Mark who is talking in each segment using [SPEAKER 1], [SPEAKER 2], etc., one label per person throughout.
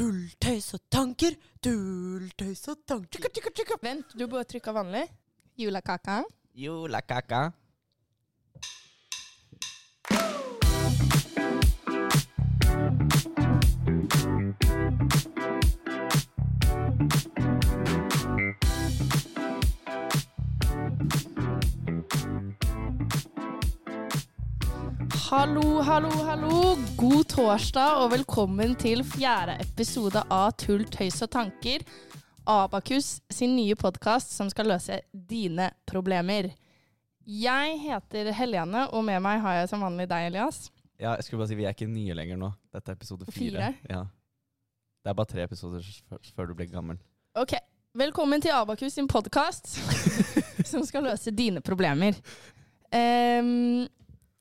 [SPEAKER 1] Tull, tøys og tanker. Tull, tøys og tanker. Tjukka, tjukka, tjukka.
[SPEAKER 2] Vent, du bør trykke vanlig. Julekaka.
[SPEAKER 1] Julekaka.
[SPEAKER 2] Hallo, hallo, hallo. God torsdag og velkommen til fjerde episode av Tull, tøys og tanker. Abakus sin nye podkast som skal løse dine problemer. Jeg heter Helene, og med meg har jeg som vanlig deg, Elias.
[SPEAKER 3] Ja, jeg skulle bare si Vi er ikke nye lenger nå. Dette er episode fire.
[SPEAKER 2] Fire?
[SPEAKER 3] Ja. Det er bare tre episoder s- før, før du blir gammel.
[SPEAKER 2] Ok, velkommen til Abakus sin podkast som skal løse dine problemer. Em,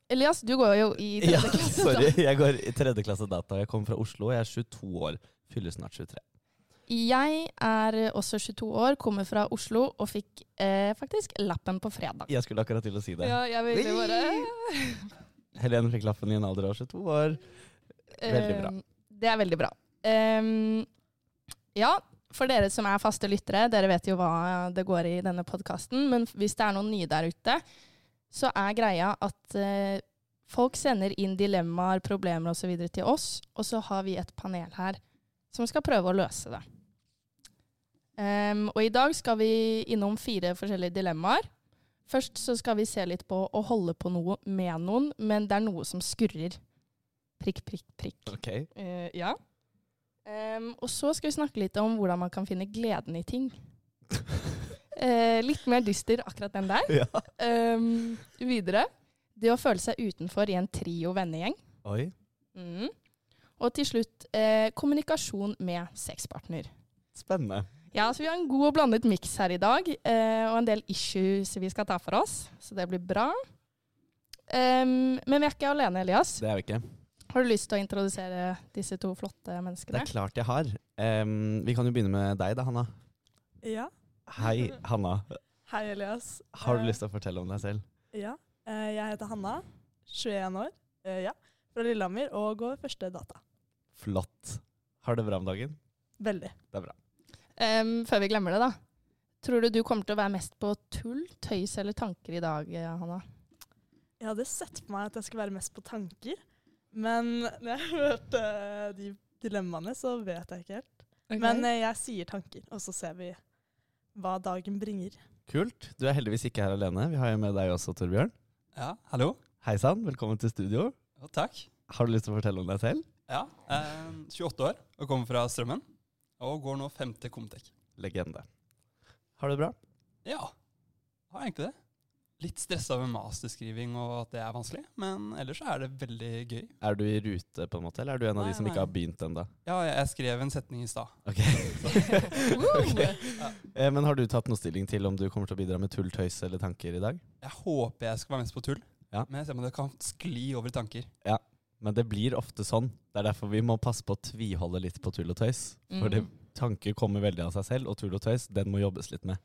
[SPEAKER 2] Elias, du går jo i
[SPEAKER 3] Ja,
[SPEAKER 2] tredje klasse. da.
[SPEAKER 3] sorry. Jeg går i tredje klasse data. Jeg kommer fra Oslo. Jeg er 22 år. Fyller snart 23.
[SPEAKER 2] Jeg er også 22 år, kommer fra Oslo og fikk eh, faktisk lappen på fredag.
[SPEAKER 3] Jeg skulle akkurat til å si det.
[SPEAKER 2] jeg
[SPEAKER 3] ville Helene fikk lappen i en alder av 22 år. Veldig bra.
[SPEAKER 2] Ehm, Det er veldig bra. Em, ja, for dere som er faste lyttere, dere vet jo hva det går i denne podkasten, men hvis det er noen nye der ute, så er greia at eh, folk sender inn dilemmaer, problemer osv. til oss, og så har vi et panel her som skal prøve å løse det. Em, og i dag skal vi innom fire forskjellige dilemmaer. Først så skal vi se litt på å holde på noe med noen, men det er noe som skurrer. Prikk, prikk, prikk.
[SPEAKER 3] Ok.
[SPEAKER 2] Eh, ja. Em, og så skal vi snakke litt om hvordan man kan finne gleden i ting. Eh, litt mer dyster akkurat den der.
[SPEAKER 3] Ja.
[SPEAKER 2] Em, videre. Det å føle seg utenfor i en trio-vennegjeng.
[SPEAKER 3] Oi.
[SPEAKER 2] Mm. Og til slutt eh, kommunikasjon med sexpartner.
[SPEAKER 3] Spennende.
[SPEAKER 2] Ja, så Vi har en god og blandet miks her i dag, eh, og en del issues vi skal ta for oss. Så det blir bra. Em, men vi er ikke alene, Elias.
[SPEAKER 3] Det er vi ikke.
[SPEAKER 2] Har du lyst til å introdusere disse to flotte
[SPEAKER 3] Det
[SPEAKER 2] menneskene?
[SPEAKER 3] er klart jeg har. Em, vi kan jo begynne med deg da, Hanna.
[SPEAKER 4] Ja.
[SPEAKER 3] Hei, Hanna.
[SPEAKER 4] Hei, Elias. Eh,
[SPEAKER 3] Har du lyst til å fortelle om deg selv?
[SPEAKER 4] Ja. Eh, Jeg heter Hanna, 21 år, eh, ja. fra Lillehammer, og går første data.
[SPEAKER 3] Flott. Har du det bra om dagen?
[SPEAKER 4] Veldig.
[SPEAKER 2] Em, Ehm, før vi glemmer det, da. Tror du du kommer til å være mest på tull, tøys eller tanker i dag, eh, Hanna?
[SPEAKER 4] Jeg hadde sett på meg at jeg skulle være mest på tanker, men når jeg hørte eh, de dilemmaene, så vet jeg ikke helt. Men eh, jeg sier tanker, og så ser vi hva dagen bringer.
[SPEAKER 3] Kult. Du er heldigvis ikke her alene. Vi har jo med deg også, Torbjørn.
[SPEAKER 5] Ja, hallo.
[SPEAKER 3] Hei sann, velkommen til studio.
[SPEAKER 5] Ja, takk.
[SPEAKER 3] Har du lyst til å fortelle om deg selv?
[SPEAKER 5] Ja, eh, 28 år og kommer fra Strømmen. Og går nå femte Comtec.
[SPEAKER 3] Legende. Har du det bra?
[SPEAKER 5] Ja, har egentlig det. Litt stressa med masterskriving og at det er vanskelig, men ellers så er det veldig gøy.
[SPEAKER 3] Er du i rute, på en måte, eller er du en av
[SPEAKER 5] Nei,
[SPEAKER 3] de som
[SPEAKER 5] nei.
[SPEAKER 3] ikke har begynt ennå?
[SPEAKER 5] Ja, jeg jeg skrev en setning i stad.
[SPEAKER 3] Ok. Ok. Eh, Men har du tatt noe stilling til om du kommer til å bidra med tull, tøys eller tanker i dag?
[SPEAKER 5] Jeg håper jeg skal være mest på tull,
[SPEAKER 3] Ja.
[SPEAKER 5] men jeg ser på at det kan skli over i tanker.
[SPEAKER 3] Men det blir ofte sånn. Det er derfor vi må passe på å tviholde litt på tull og tøys.
[SPEAKER 2] eh,
[SPEAKER 3] For
[SPEAKER 2] mm.
[SPEAKER 3] det, tanker kommer veldig av seg selv, og tull og tøys, den må jobbes litt med.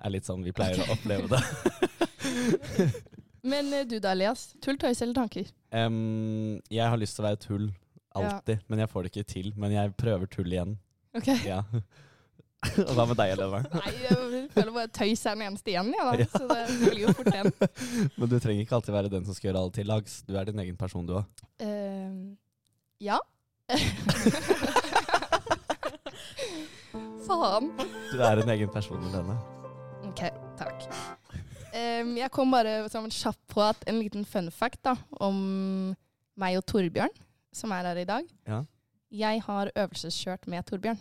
[SPEAKER 3] Er litt sånn vi pleier å oppleve det.
[SPEAKER 2] Men eh, du da, Elias. Tull, tøys eller tanker?
[SPEAKER 3] Em, jeg har lyst til å være tull.
[SPEAKER 2] Ja.
[SPEAKER 3] Alltid. Men jeg får det ikke til. Men jeg prøver tull igjen.
[SPEAKER 2] Ok.
[SPEAKER 3] Ja. Og hva med deg, Eleva?
[SPEAKER 2] Nei, jeg føler bare tøys er den eneste igjen, ja, da.
[SPEAKER 3] Ja.
[SPEAKER 2] så det blir jo fort en.
[SPEAKER 3] Men du trenger ikke alltid være den som skal gjøre alle til lags. Du er din egen person, du òg.
[SPEAKER 2] Em, Ehm, ja. Faen.
[SPEAKER 3] Du er en egen person, Helene.
[SPEAKER 2] Ok, takk. Em, jeg kom bare som en kjapp på at en liten fun fact da, om meg og Torbjørn, som er her i dag.
[SPEAKER 3] Ja.
[SPEAKER 2] Jeg har øvelseskjørt med Torbjørn.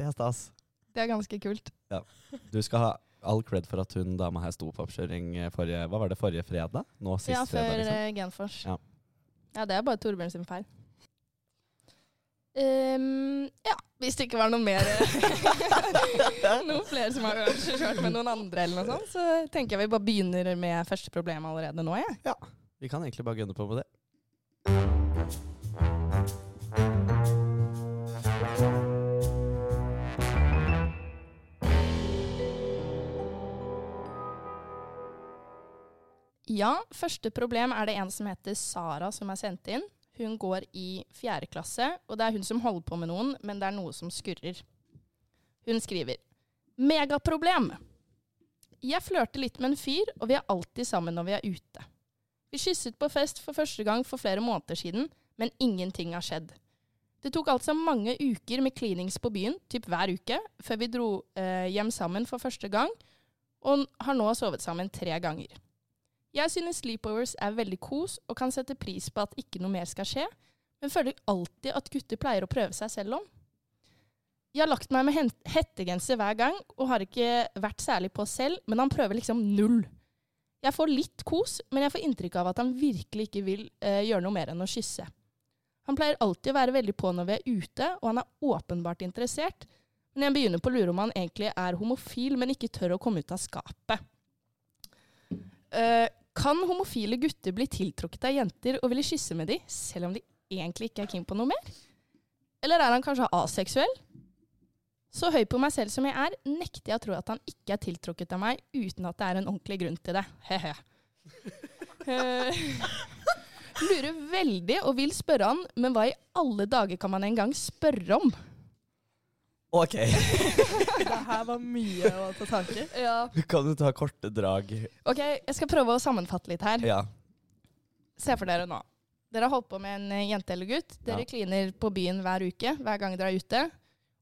[SPEAKER 3] Det er stas.
[SPEAKER 2] Det er ganske kult.
[SPEAKER 3] Du skal ha all cred for at hun dama her sto på oppkjøring eh, forrige Hva var det, forrige fredag? Nå sist
[SPEAKER 2] ja,
[SPEAKER 3] fredag,
[SPEAKER 2] før
[SPEAKER 3] liksom.
[SPEAKER 2] eh, Genfors.
[SPEAKER 3] Ja.
[SPEAKER 2] Ja, det er bare Torbjørn sin feil. Em, ja, hvis det ikke var noe mer eh, Noen flere som har øvelseskjørt med noen andre, eller noe sånt, så tenker jeg vi bare begynner med første problem allerede nå, jeg.
[SPEAKER 3] Vi kan egentlig bare gunne på med det.
[SPEAKER 2] Ja, første problem er det en som heter Sara som er sendt inn. Hun går i fjerde klasse, og det er hun som holder på med noen, men det er noe som skurrer. Hun skriver Megaproblem! Jeg flørter litt med en fyr, og vi er alltid sammen når vi er ute. Vi kysset på fest for første gang for flere måneder siden, men ingenting har skjedd. Det tok altså mange uker med klinings på byen, typ hver uke, før vi dro eh, hjem sammen for første gang, og n- har nå sovet sammen tre ganger. Jeg synes sleepovers er veldig kos, og kan sette pris på at ikke noe mer skal skje, men føler alltid at gutter pleier å prøve seg selv om. Jeg har lagt meg med hen- hettegenser hver gang, og har ikke vært særlig på selv, men han prøver liksom null. Jeg får litt kos, men jeg får inntrykk av at han virkelig ikke vil eh, gjøre noe mer enn å kysse. Han pleier alltid å være veldig på når vi er ute, og han er åpenbart interessert, men jeg begynner på å lure om han egentlig er homofil, men ikke tør å komme ut av skapet. Eh, kan homofile gutter bli tiltrukket av jenter og ville kysse med de, selv om de egentlig ikke er keen på noe mer? Eller er han kanskje aseksuell? Så høy på meg selv som jeg er, nekter jeg å tro at han ikke er tiltrukket av meg uten at det er en ordentlig grunn til det. Hehe. Eh, Lurer veldig og vil spørre han, men hva i alle dager kan man engang spørre om?
[SPEAKER 3] Ok,
[SPEAKER 4] Det her var mye å ta tak i.
[SPEAKER 3] kan du ta korte drag?
[SPEAKER 2] Ok, jeg skal prøve å sammenfatte litt her.
[SPEAKER 3] Ja.
[SPEAKER 2] Se for dere nå. Dere har holdt på med en eh, jente eller gutt. Dere
[SPEAKER 3] Ja.
[SPEAKER 2] kliner på byen hver uke, hver gang dere er ute.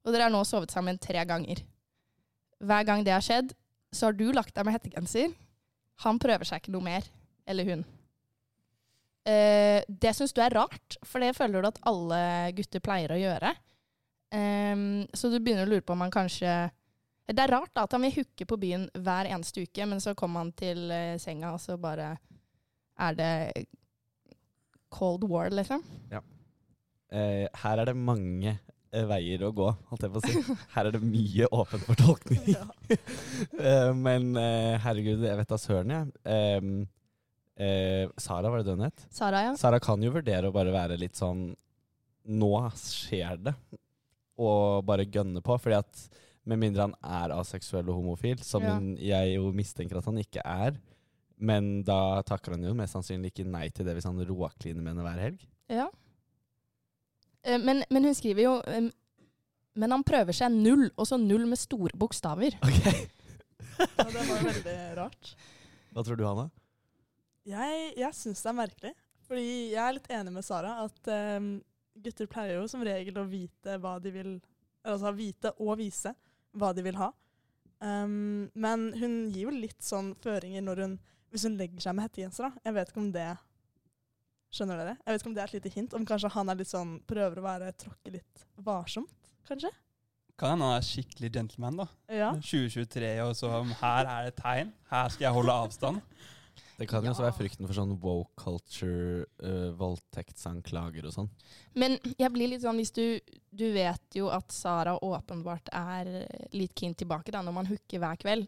[SPEAKER 2] Og dere har nå sovet sammen tre ganger. Hver gang det har skjedd, så har du lagt deg med hettegenser. Han prøver seg ikke noe mer. Eller hun. Eh, det syns du er rart, for det føler du at alle gutter pleier å gjøre. Ehm, så du begynner å lure på om han kanskje Det er rart da, at han vil hooke på byen hver eneste uke, men så kommer han til eh, senga, og så bare er det cold war, liksom?
[SPEAKER 3] Eh, her er det mange eh, veier å gå, holdt jeg på å si. Her er det mye åpen fortolkning. Eh, men eh, herregud, jeg vet da søren, jeg. Eh, eh, Sara, var det den het?
[SPEAKER 2] Sara, ja.
[SPEAKER 3] Sara kan jo vurdere å bare være litt sånn Nå skjer det, og bare gønne på. Fordi at med mindre han er aseksuell og homofil, som
[SPEAKER 2] Ja.
[SPEAKER 3] hun- jeg jo mistenker at han ikke er, men da takker han jo mest sannsynlig ikke nei til det hvis han råkliner med henne hver helg.
[SPEAKER 2] ja. Eh, Men, men hun skriver jo eh, Men han prøver seg null, og så null med store bokstaver.
[SPEAKER 3] Ok,
[SPEAKER 4] Ja, det var veldig rart.
[SPEAKER 3] Hva tror du, Hanna?
[SPEAKER 4] Jeg, jeg syns det er merkelig. Fordi jeg er litt enig med Sara at eh, gutter pleier jo som regel å vite hva de vil Altså vite og vise hva de vil ha. Um, men hun gir jo litt sånn føringer når hun, hvis hun legger seg med hettegenser. da. Jeg vet ikke om det Skjønner dere? Jeg vet ikke om det er et lite hint. Om kanskje han er litt sånn, prøver å være, tråkke litt varsomt, kanskje?
[SPEAKER 5] Kan hende han er skikkelig gentleman, da.
[SPEAKER 4] Ja.
[SPEAKER 5] 2023, og så um, her er det tegn. Her skal jeg holde avstand.
[SPEAKER 3] Det kan jo også
[SPEAKER 4] Ja.
[SPEAKER 3] være frykten for sånn woke culture, eh, voldtektsanklager og sånn.
[SPEAKER 2] Men jeg blir litt sånn hvis du Du vet jo at Sara åpenbart er litt keen tilbake da, når man hooker hver kveld.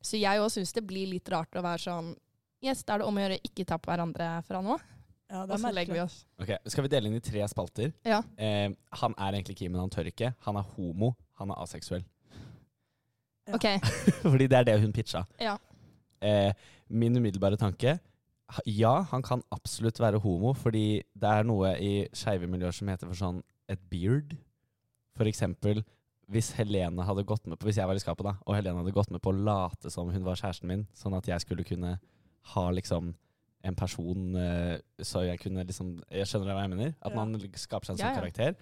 [SPEAKER 2] Så jeg òg syns det blir litt rart å være sånn Yes, da er det om å gjøre ikke ta på hverandre fra nå.
[SPEAKER 4] ja, det
[SPEAKER 2] Og
[SPEAKER 4] er
[SPEAKER 2] så legger vi
[SPEAKER 4] merkelig.
[SPEAKER 2] oss.
[SPEAKER 3] Ok, Skal vi dele inn i tre spalter?
[SPEAKER 2] Ja.
[SPEAKER 3] Eh, han er egentlig ikke, men han tør ikke. Han er homo. Han er aseksuell.
[SPEAKER 4] Ja.
[SPEAKER 2] OK.
[SPEAKER 3] Fordi det er det hun pitcha.
[SPEAKER 2] Ja.
[SPEAKER 3] Eh, min umiddelbare tanke ha- Ja, han kan absolutt være homo, fordi det er noe i skeive miljøer som heter for sånn et beard. For eksempel hvis Helene hadde gått med på Hvis jeg var i skapet, da, og Helene hadde gått med på å late som hun var kjæresten min, sånn at jeg skulle kunne ha liksom en person eh, Så jeg kunne liksom Jeg skjønner hva jeg mener? At
[SPEAKER 4] Ja.
[SPEAKER 3] man skaper seg en
[SPEAKER 2] Ja,
[SPEAKER 3] sånn
[SPEAKER 2] ja.
[SPEAKER 3] karakter.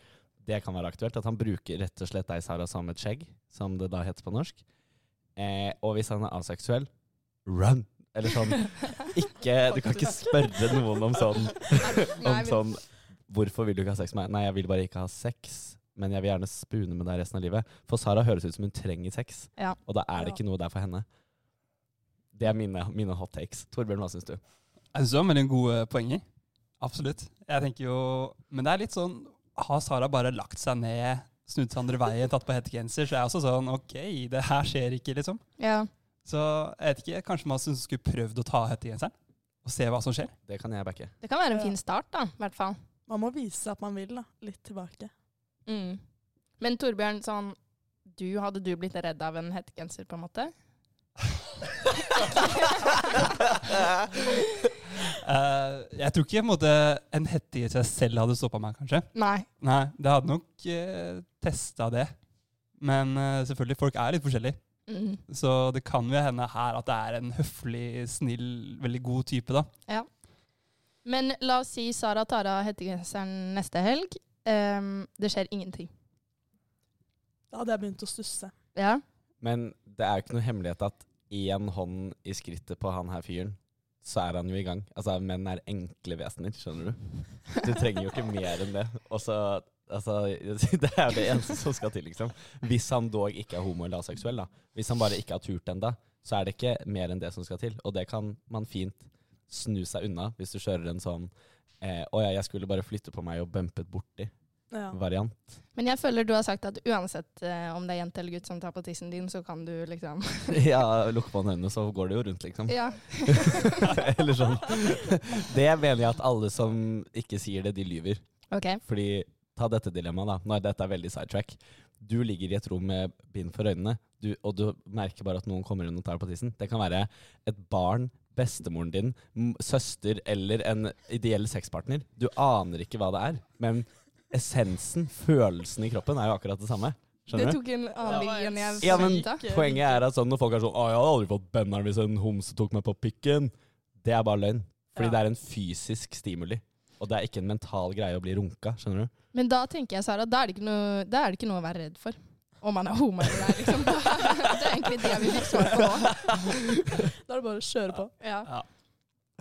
[SPEAKER 3] Det kan være aktuelt. At han bruker rett og slett deg, Sara, som et skjegg, som det da heter på norsk. Eh, og hvis han er aseksuell, run! Eller sånn ikke, Du kan ikke spørre noen om sånn, om sånn Hvorfor vil du ikke ha sex med meg? Nei, jeg vil bare ikke ha sex. Men jeg vil gjerne spune med deg resten av livet. For Sara høres ut som hun trenger sex.
[SPEAKER 2] Ja.
[SPEAKER 3] Og da er det
[SPEAKER 4] Ja.
[SPEAKER 3] ikke noe der for henne. Det er mine, mine hot takes. Torbjørn, hva syns du?
[SPEAKER 5] Jeg synes det var veldig gode poenger. Absolutt. Jeg tenker jo, Men det er litt sånn Har Sara bare lagt seg ned, snudd seg andre veien, tatt på hettegenser, så er jeg også sånn OK, det her skjer ikke, liksom.
[SPEAKER 2] Ja.
[SPEAKER 5] Så jeg vet ikke, kanskje man synes skulle prøvd å ta av hettegenseren og se hva som skjer.
[SPEAKER 3] Det kan jeg backe.
[SPEAKER 2] Det kan være en
[SPEAKER 4] Ja.
[SPEAKER 2] fin start, da, i hvert fall.
[SPEAKER 4] Man må vise at man vil, da. Litt tilbake.
[SPEAKER 2] Mm. Men Torbjørn, sånn du, Hadde du blitt redd av en hettegenser, på en måte?
[SPEAKER 5] Eh, jeg tror ikke på en, måte, en hette i seg selv hadde stoppa meg, kanskje.
[SPEAKER 2] Nei.
[SPEAKER 5] Nei, det hadde nok uh, testa det. Men eh, selvfølgelig, folk er litt forskjellige.
[SPEAKER 2] Mm.
[SPEAKER 5] Så det kan jo hende her at det er en høflig, snill, veldig god type, da.
[SPEAKER 2] Men la oss si Sara tar av hettegenseren neste helg. Ehm, det skjer ingenting.
[SPEAKER 4] Da hadde jeg begynt å stusse.
[SPEAKER 2] Ja.
[SPEAKER 3] Men det er jo ikke noe hemmelighet at én hånd i skrittet på han her fyren, så er han jo i gang. Altså, menn er enkle vesener, skjønner du. Du trenger jo ikke mer enn det. Og så Altså, det er jo det eneste som skal til, liksom. Hvis han dog ikke er homo eller aseksuell, da. Hvis han bare ikke har turt ennå, så er det ikke mer enn det som skal til. Og det kan man fint snu seg unna hvis du kjører en sånn eh, 'Å ja, jeg skulle bare flytte på meg og bumpet borti'-variant.
[SPEAKER 4] Ja.
[SPEAKER 2] Men jeg føler du har sagt at uansett eh, om det er jente eller gutt som tar på tissen din, så kan du liksom
[SPEAKER 3] Ja, lukk på øynene, så går det jo rundt, liksom.
[SPEAKER 2] Ja.
[SPEAKER 3] Eller sånn. Det mener jeg at alle som ikke sier det, de lyver.
[SPEAKER 2] OK.
[SPEAKER 3] Fordi, ta dette dilemmaet, da. Nei, dette er veldig sidetrack. Du ligger i et rom med bind for øynene, du, og du merker bare at noen kommer inn og tar på tissen. Det kan være et barn, bestemoren din, m- søster eller en ideell sexpartner. Du aner ikke hva det er, men essensen, følelsen i kroppen, er jo akkurat det samme.
[SPEAKER 2] Det
[SPEAKER 3] Skjønner du?
[SPEAKER 2] tok en annen
[SPEAKER 4] Det var
[SPEAKER 2] vei enn jeg
[SPEAKER 4] helt
[SPEAKER 3] Ja, men-
[SPEAKER 2] forventa.
[SPEAKER 3] Poenget er at sånn når folk er sånn 'Å, jeg hadde aldri fått benneren hvis en homse tok meg på pikken', det er bare løgn. Fordi
[SPEAKER 4] Ja.
[SPEAKER 3] det er en fysisk stimuli. Og det er ikke en mental greie å bli runka, skjønner du?
[SPEAKER 2] Men da tenker jeg, Sara, da er det ikke noe, da er det ikke noe å være redd for. Om man er homo eller ei, liksom. Det er, det er egentlig det vi fikk svar på nå.
[SPEAKER 4] Da er det bare å kjøre på.
[SPEAKER 2] Ja.
[SPEAKER 5] Ja,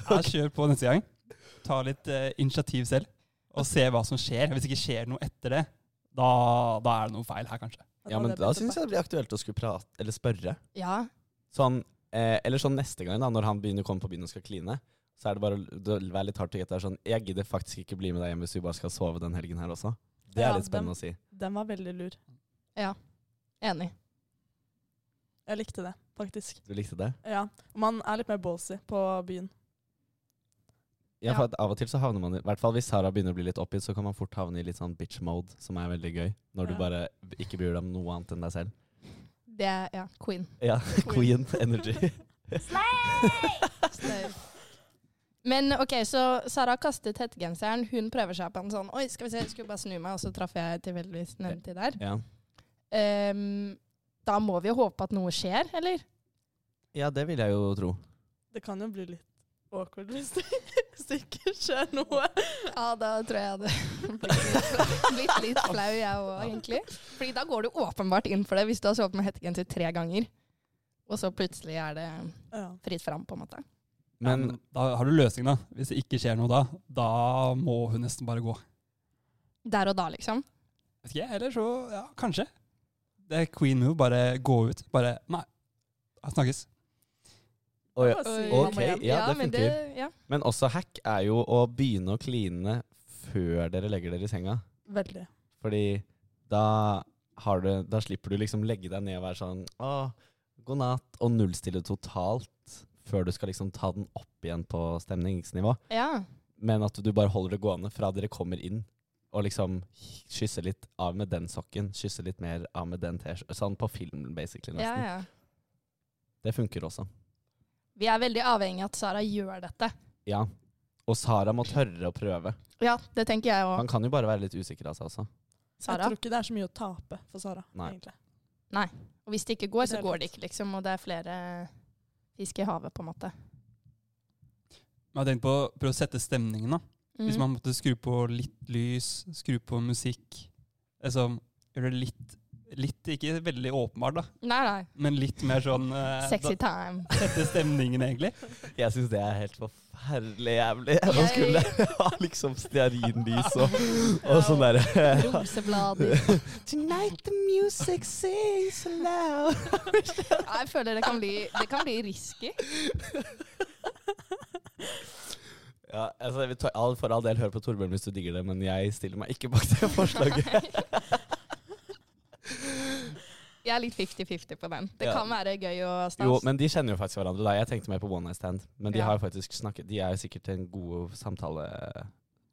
[SPEAKER 5] kjør på neste gang. Ta litt eh, initiativ selv, og se hva som skjer. Hvis det ikke skjer noe etter det, da, da er det noe feil her, kanskje.
[SPEAKER 3] Ja, men da syns jeg det blir aktuelt å skulle prate, eller spørre.
[SPEAKER 2] ja.
[SPEAKER 3] Sånn, eh, eller sånn neste gang, da, når han begynner å komme på byen og skal kline, så er det bare å det være litt hardt og greit. Det er Sånn, 'Jeg gidder faktisk ikke bli med deg hjem hvis vi bare skal sove den helgen her også'. Det er
[SPEAKER 4] Ja,
[SPEAKER 3] litt spennende
[SPEAKER 4] dem-
[SPEAKER 3] å si.
[SPEAKER 4] Den var veldig lur.
[SPEAKER 2] Enig.
[SPEAKER 4] Jeg likte det, faktisk.
[SPEAKER 3] Du likte det?
[SPEAKER 4] Ja. Man er litt mer ballsy på byen.
[SPEAKER 3] Ja,
[SPEAKER 2] Ja.
[SPEAKER 3] for at av og til så havner man i hvert fall hvis Sara begynner å bli litt oppgitt, så kan man fort havne i litt sånn bitch mode, som er veldig gøy. Når du
[SPEAKER 4] Ja.
[SPEAKER 3] bare ikke bryr deg om noe annet enn deg selv.
[SPEAKER 2] Det er ja, queen.
[SPEAKER 3] Ja, queen energy.
[SPEAKER 2] Slay! Men OK, så Sara kastet hettegenseren. Hun prøver seg på en sånn Oi, skal vi se, jeg skulle bare snu meg, og så traff jeg tilfeldigvis nevnte der.
[SPEAKER 3] Ja.
[SPEAKER 2] Ehm, da må vi jo håpe at noe skjer, eller?
[SPEAKER 3] ja, det vil jeg jo tro.
[SPEAKER 4] Det kan jo bli litt awkward hvis det, hvis det ikke skjer noe.
[SPEAKER 2] Ja, da tror jeg det blitt litt, blitt litt flau, jeg òg, egentlig. Fordi da går du åpenbart inn for det hvis du har sovet med hettegenser tre ganger, og så plutselig er det
[SPEAKER 4] Ja.
[SPEAKER 2] fritt fram, på en måte.
[SPEAKER 3] Men
[SPEAKER 5] Ja, da har du løsningen, da. Hvis det ikke skjer noe da, da må hun nesten bare gå.
[SPEAKER 2] Der og da, liksom.
[SPEAKER 5] Vet ikke, eller så Ja, kanskje. Det er queen move. Bare gå ut. Bare Nei. da Snakkes.
[SPEAKER 3] Å ja.
[SPEAKER 4] Bare si,
[SPEAKER 3] Ok,
[SPEAKER 4] «Mamma, jeg-
[SPEAKER 3] ja, det
[SPEAKER 2] men ja.
[SPEAKER 3] Men også hack er jo å begynne å kline før dere legger dere i senga.
[SPEAKER 4] Veldig.
[SPEAKER 3] Fordi da, har du, da slipper du liksom legge deg ned og være sånn Å, god natt. Og nullstille totalt før du skal liksom ta den opp igjen på stemningsnivå.
[SPEAKER 2] ja.
[SPEAKER 3] Men at du bare holder det gående fra dere kommer inn. Og liksom kysser litt av med den sokken, kysser litt mer av med den T-skjorta. Sånn på film, basically.
[SPEAKER 2] ja,
[SPEAKER 3] nesten.
[SPEAKER 2] ja.
[SPEAKER 3] Det funker også.
[SPEAKER 2] Vi er veldig avhengig av at Sara gjør dette.
[SPEAKER 3] Ja. Og Sara må tørre å prøve.
[SPEAKER 2] Ja, det tenker jeg òg.
[SPEAKER 3] Han kan jo bare være litt usikker av seg også.
[SPEAKER 2] Sara?
[SPEAKER 4] Jeg tror ikke det er så mye å tape for Sara,
[SPEAKER 3] Nei.
[SPEAKER 4] egentlig.
[SPEAKER 2] Og hvis det ikke går, så
[SPEAKER 4] Det er
[SPEAKER 2] går det
[SPEAKER 4] litt-
[SPEAKER 2] ikke, liksom. Og det er flere fisk i havet, på en måte.
[SPEAKER 5] Men jeg har tenkt på å prøve å sette stemningen, da.
[SPEAKER 2] Mm.
[SPEAKER 5] Hvis man måtte skru på litt lys, skru på musikk liksom, Gjøre det litt, litt Ikke veldig åpenbart, da,
[SPEAKER 2] Nei, nei.
[SPEAKER 5] men litt mer sånn eh,
[SPEAKER 2] Sexy time.
[SPEAKER 5] Da, sette stemningen, egentlig.
[SPEAKER 3] Jeg syns det er helt forferdelig jævlig.
[SPEAKER 2] Jeg-
[SPEAKER 3] Man skulle ha liksom stearinlys og, og sånn derre
[SPEAKER 2] Roseblader.
[SPEAKER 1] Tonight the music sings loud.
[SPEAKER 2] Ja, Jeg føler det kan bli, det kan bli risky.
[SPEAKER 3] ja, altså, jeg vil ta- all- For all del, hør på Torbjørn hvis du digger det, men jeg stiller meg ikke bak det forslaget.
[SPEAKER 2] Jeg er litt 50-50 på den. Det
[SPEAKER 3] Ja.
[SPEAKER 2] kan være gøy å stas.
[SPEAKER 3] Jo, men de kjenner jo faktisk hverandre. da Jeg tenkte mer på one night stand, men de
[SPEAKER 2] Ja.
[SPEAKER 3] har jo faktisk snakket De er jo sikkert en god eh,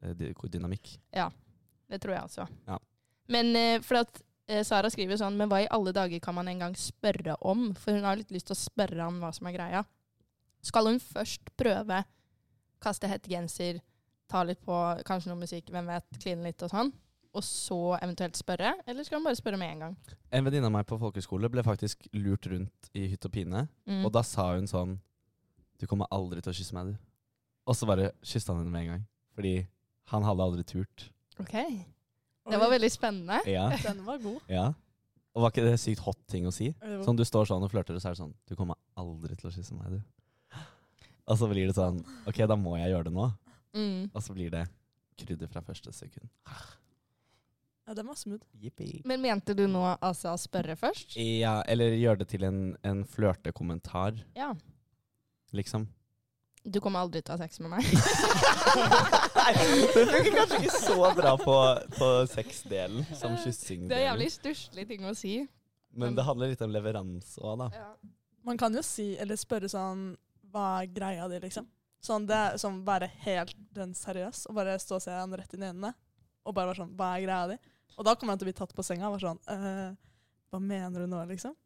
[SPEAKER 3] samtaledynamikk.
[SPEAKER 2] Det tror jeg også.
[SPEAKER 3] Ja.
[SPEAKER 2] Men eh, for at eh, Sara skriver jo sånn Men hva i alle dager kan man engang spørre om? For hun har litt lyst til å spørre han hva som er greia. Skal hun først prøve kaste hettegenser, ta litt på kanskje noe musikk, hvem vet, kline litt og sånn. Og så eventuelt spørre, eller skal man bare spørre med en gang?
[SPEAKER 3] En venninne av meg på folkehøyskole ble faktisk lurt rundt i hytt og pine.
[SPEAKER 2] Mm.
[SPEAKER 3] Og da sa hun sånn Du kommer aldri til å kysse meg, du. Og så bare kyssa han henne med en gang. Fordi han hadde aldri turt.
[SPEAKER 2] Ok. Det var veldig spennende.
[SPEAKER 3] Ja,
[SPEAKER 4] Den var god.
[SPEAKER 3] ja. Og var ikke det sykt hot ting å si?
[SPEAKER 4] Det var-
[SPEAKER 3] Sånn Du står sånn og flørter, og så er det sånn Du kommer aldri til å kysse meg, du. Og så blir det sånn Ok, da må jeg gjøre det nå.
[SPEAKER 2] Mm.
[SPEAKER 3] Og så blir det krydder fra første sekund.
[SPEAKER 4] Ja, den var smooth.
[SPEAKER 3] Jippi.
[SPEAKER 2] Men mente du nå altså å spørre først?
[SPEAKER 3] Ja, eller gjør det til en, en flørtekommentar,
[SPEAKER 2] Ja.
[SPEAKER 3] liksom.
[SPEAKER 2] Du kommer aldri til å ha sex med meg.
[SPEAKER 3] Nei, det funker kanskje ikke så bra på, på sexdelen som kyssing.
[SPEAKER 2] Eh, Det er jævlig stusslig ting å si.
[SPEAKER 3] Men det handler litt om leveranse òg, da.
[SPEAKER 4] Man kan jo si, eller spørre sånn Hva er greia di, liksom? Sånn, det er sånn Være helt den seriøs og bare stå og se han rett inn i øynene. Og bare være sånn Hva er greia di? Og da kommer han til å bli tatt på senga og være sånn «Øh, Hva mener du nå, liksom?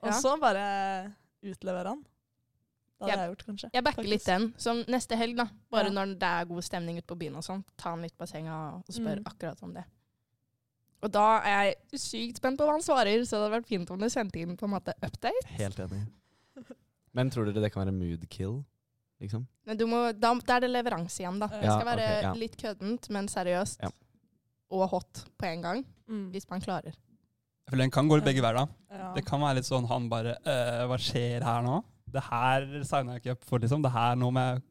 [SPEAKER 4] Og
[SPEAKER 2] Ja.
[SPEAKER 4] så bare utlevere han. Det hadde
[SPEAKER 2] Jeg-
[SPEAKER 4] jeg gjort, kanskje.
[SPEAKER 2] Jeg backer
[SPEAKER 4] Faktisk.
[SPEAKER 2] litt den. Som neste helg, da. Bare
[SPEAKER 4] Ja.
[SPEAKER 2] når det er god stemning ute på byen og sånn. Ta han litt på senga og spør
[SPEAKER 4] Mm.
[SPEAKER 2] akkurat om det. Og da er jeg sykt spent på hva han svarer, så det hadde vært fint om du sendte inn på en måte update.
[SPEAKER 3] Helt enig. Men tror dere det kan være mood kill? Liksom?
[SPEAKER 2] Men du må, da, da er det leveranse igjen, da. det
[SPEAKER 3] Ja,
[SPEAKER 2] skal være
[SPEAKER 3] ok, ja.
[SPEAKER 2] litt køddent, men seriøst.
[SPEAKER 3] Ja.
[SPEAKER 2] Og hot på en gang,
[SPEAKER 4] Mm.
[SPEAKER 2] hvis man klarer.
[SPEAKER 5] For den kan gå begge veier, da.
[SPEAKER 4] Ja.
[SPEAKER 5] Det kan være litt sånn han bare «Øh, Hva skjer her nå? Det her signa jeg ikke opp for, liksom. Det her nå må jeg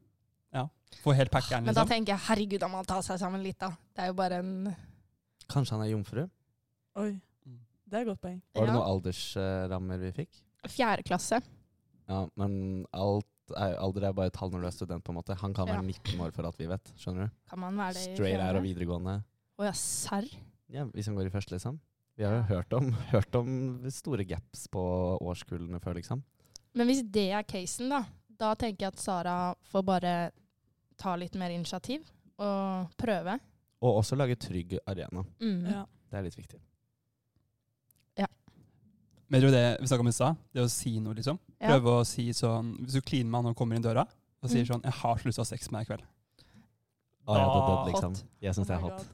[SPEAKER 5] ja, få helt packeren,
[SPEAKER 2] Men da
[SPEAKER 5] liksom.
[SPEAKER 2] tenker jeg herregud, da må han ta seg sammen litt, da. Det er jo bare en
[SPEAKER 3] Kanskje han er jomfru?
[SPEAKER 4] Oi.
[SPEAKER 3] Mm.
[SPEAKER 4] Det er et godt poeng.
[SPEAKER 3] Var
[SPEAKER 2] Ja.
[SPEAKER 3] det noen aldersrammer vi fikk?
[SPEAKER 2] fjerde klasse.
[SPEAKER 3] Ja, men alt er, alder er bare et tall når du er student, på en måte. Han kan
[SPEAKER 2] Ja.
[SPEAKER 3] være 19 år for alt vi vet. Skjønner du?
[SPEAKER 2] Kan man være det i
[SPEAKER 3] Straight
[SPEAKER 2] fjerde?
[SPEAKER 3] er og videregående.
[SPEAKER 2] Å ja, serr.
[SPEAKER 3] Ja, vi som går i første, liksom. Vi har jo
[SPEAKER 2] Ja.
[SPEAKER 3] hørt om, hørt om store gaps på årskullene før, liksom.
[SPEAKER 2] Men hvis det er casen, da, da tenker jeg at Sara får bare ta litt mer initiativ og prøve.
[SPEAKER 3] Og også lage trygg arena.
[SPEAKER 2] Mm.
[SPEAKER 4] Ja.
[SPEAKER 3] Det er litt viktig.
[SPEAKER 5] Men tror du det vi snakka om i stad? Det å si noe, liksom.
[SPEAKER 2] Ja.
[SPEAKER 5] Prøve å si sånn Hvis du kliner med han og kommer inn døra og sier
[SPEAKER 2] Mm.
[SPEAKER 5] sånn 'Jeg har så lyst til å ha sex med deg i kveld'.
[SPEAKER 3] Å, ja, det, det,
[SPEAKER 5] Da-
[SPEAKER 3] liksom.
[SPEAKER 5] hot.
[SPEAKER 3] Jeg syns det
[SPEAKER 4] Oh
[SPEAKER 3] er
[SPEAKER 4] my
[SPEAKER 3] hot.
[SPEAKER 4] God.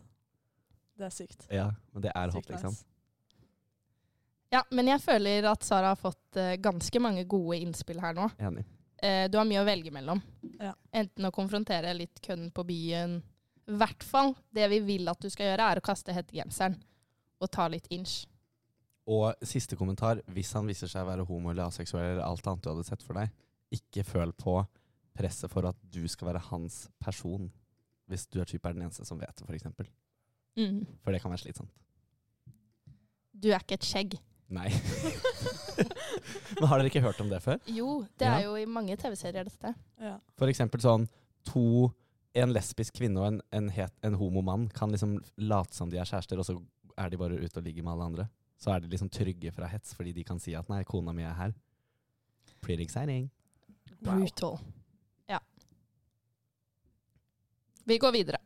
[SPEAKER 4] Det er sykt.
[SPEAKER 3] Ja, men det er hot,
[SPEAKER 4] Sykt
[SPEAKER 3] liksom.
[SPEAKER 4] nice.
[SPEAKER 2] Ja, men jeg føler at Sara har fått eh, ganske mange gode innspill her nå.
[SPEAKER 3] Enig.
[SPEAKER 2] Eh, du har mye å velge mellom.
[SPEAKER 4] Ja.
[SPEAKER 2] Enten å konfrontere litt kødden på byen I hvert fall det vi vil at du skal gjøre, er å kaste hettegenseren og ta litt inch.
[SPEAKER 3] Og siste kommentar. Hvis han viser seg å være homo eller aseksuell eller alt annet du hadde sett for deg, ikke føl på presset for at du skal være hans person. Hvis du er type er den eneste som vet det, for eksempel.
[SPEAKER 2] Mm.
[SPEAKER 3] For det kan være slitsomt.
[SPEAKER 2] Du er ikke et skjegg.
[SPEAKER 3] Nei. Men har dere ikke hørt om det før?
[SPEAKER 2] Jo, det
[SPEAKER 3] Ja.
[SPEAKER 2] er jo i mange TV-serier, dette.
[SPEAKER 4] Ja.
[SPEAKER 3] For eksempel sånn to En lesbisk kvinne og en, en, het, en homo mann kan liksom late som de er kjærester, og så er de bare ute og ligger med alle andre. Så er de liksom trygge fra hets, fordi de kan si at 'nei, kona mi er her'. Pretty exciting.
[SPEAKER 2] Brutal. Ja. Vi går videre.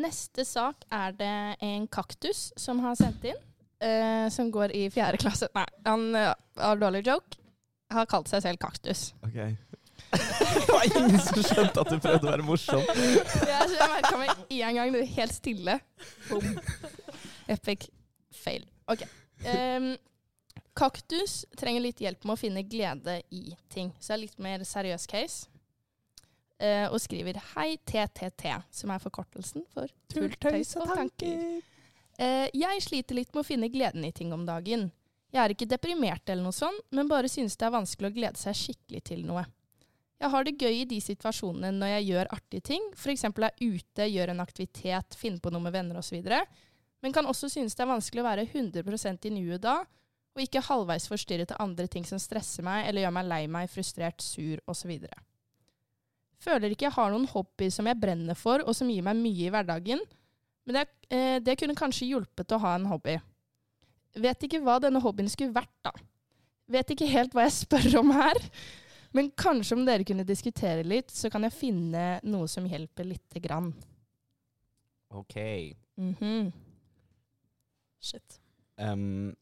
[SPEAKER 2] Neste sak er det en kaktus som har sendt inn, eh, som går i fjerde klasse. Nei, han eh, har dårlig joke. Har kalt seg selv kaktus.
[SPEAKER 3] Ok. det var ingen som skjønte at du prøvde å være morsom.
[SPEAKER 2] Ja, så jeg merka meg én gang det var helt stille. Bom. Epic fail. Ok. Em, kaktus trenger litt hjelp med å finne glede i ting, så det er litt mer seriøs case. Eh, og skriver 'Hei, TTT', som er forkortelsen for Tulltøys og tanker. Eh, jeg sliter litt med å finne gleden i ting om dagen. Jeg er ikke deprimert eller noe sånn, men bare synes det er vanskelig å glede seg skikkelig til noe. Jeg har det gøy i de situasjonene når jeg gjør artige ting, f.eks. er ute, gjør en aktivitet, finner på noe med venner osv., men kan også synes det er vanskelig å være 100 i nuet da, og ikke halvveis forstyrret av andre ting som stresser meg eller gjør meg lei meg, frustrert, sur osv. Føler ikke jeg har noen hobbyer som jeg brenner for, og som gir meg mye i hverdagen, men det, er- eh, det kunne kanskje hjulpet å ha en hobby. Vet ikke hva denne hobbyen skulle vært, da. Vet ikke helt hva jeg spør om her. Men kanskje om dere kunne diskutere litt, så kan jeg finne noe som hjelper lite grann.
[SPEAKER 3] Ok.
[SPEAKER 2] Mhm.
[SPEAKER 4] Shit.
[SPEAKER 3] Um,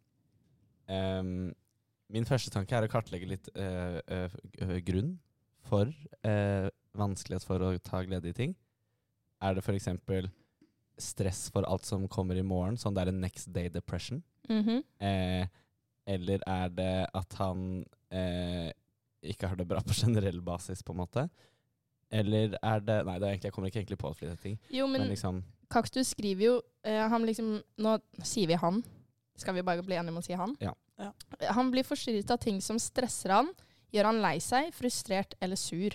[SPEAKER 3] um, min første tanke er å kartlegge litt eh, eh, eh, grunn for eh, vanskelighet for å ta glede i ting. Er det f.eks. stress for alt som kommer i morgen, sånn det er en next day depression?
[SPEAKER 2] Mhm.
[SPEAKER 3] Eh, eller er det at han eh, ikke har det bra på generell basis, på en måte? Eller er det Nei, det er egentlig, jeg kommer ikke egentlig på flere ting.
[SPEAKER 2] Jo,
[SPEAKER 3] Men,
[SPEAKER 2] men
[SPEAKER 3] liksom
[SPEAKER 2] Kaktus skriver jo eh, Han liksom Nå sier vi han. Skal vi bare bli enige om å si han? Eh,
[SPEAKER 3] Ja.
[SPEAKER 4] Ja.
[SPEAKER 2] Han blir forstyrret av ting som stresser han, gjør han lei seg, frustrert eller sur.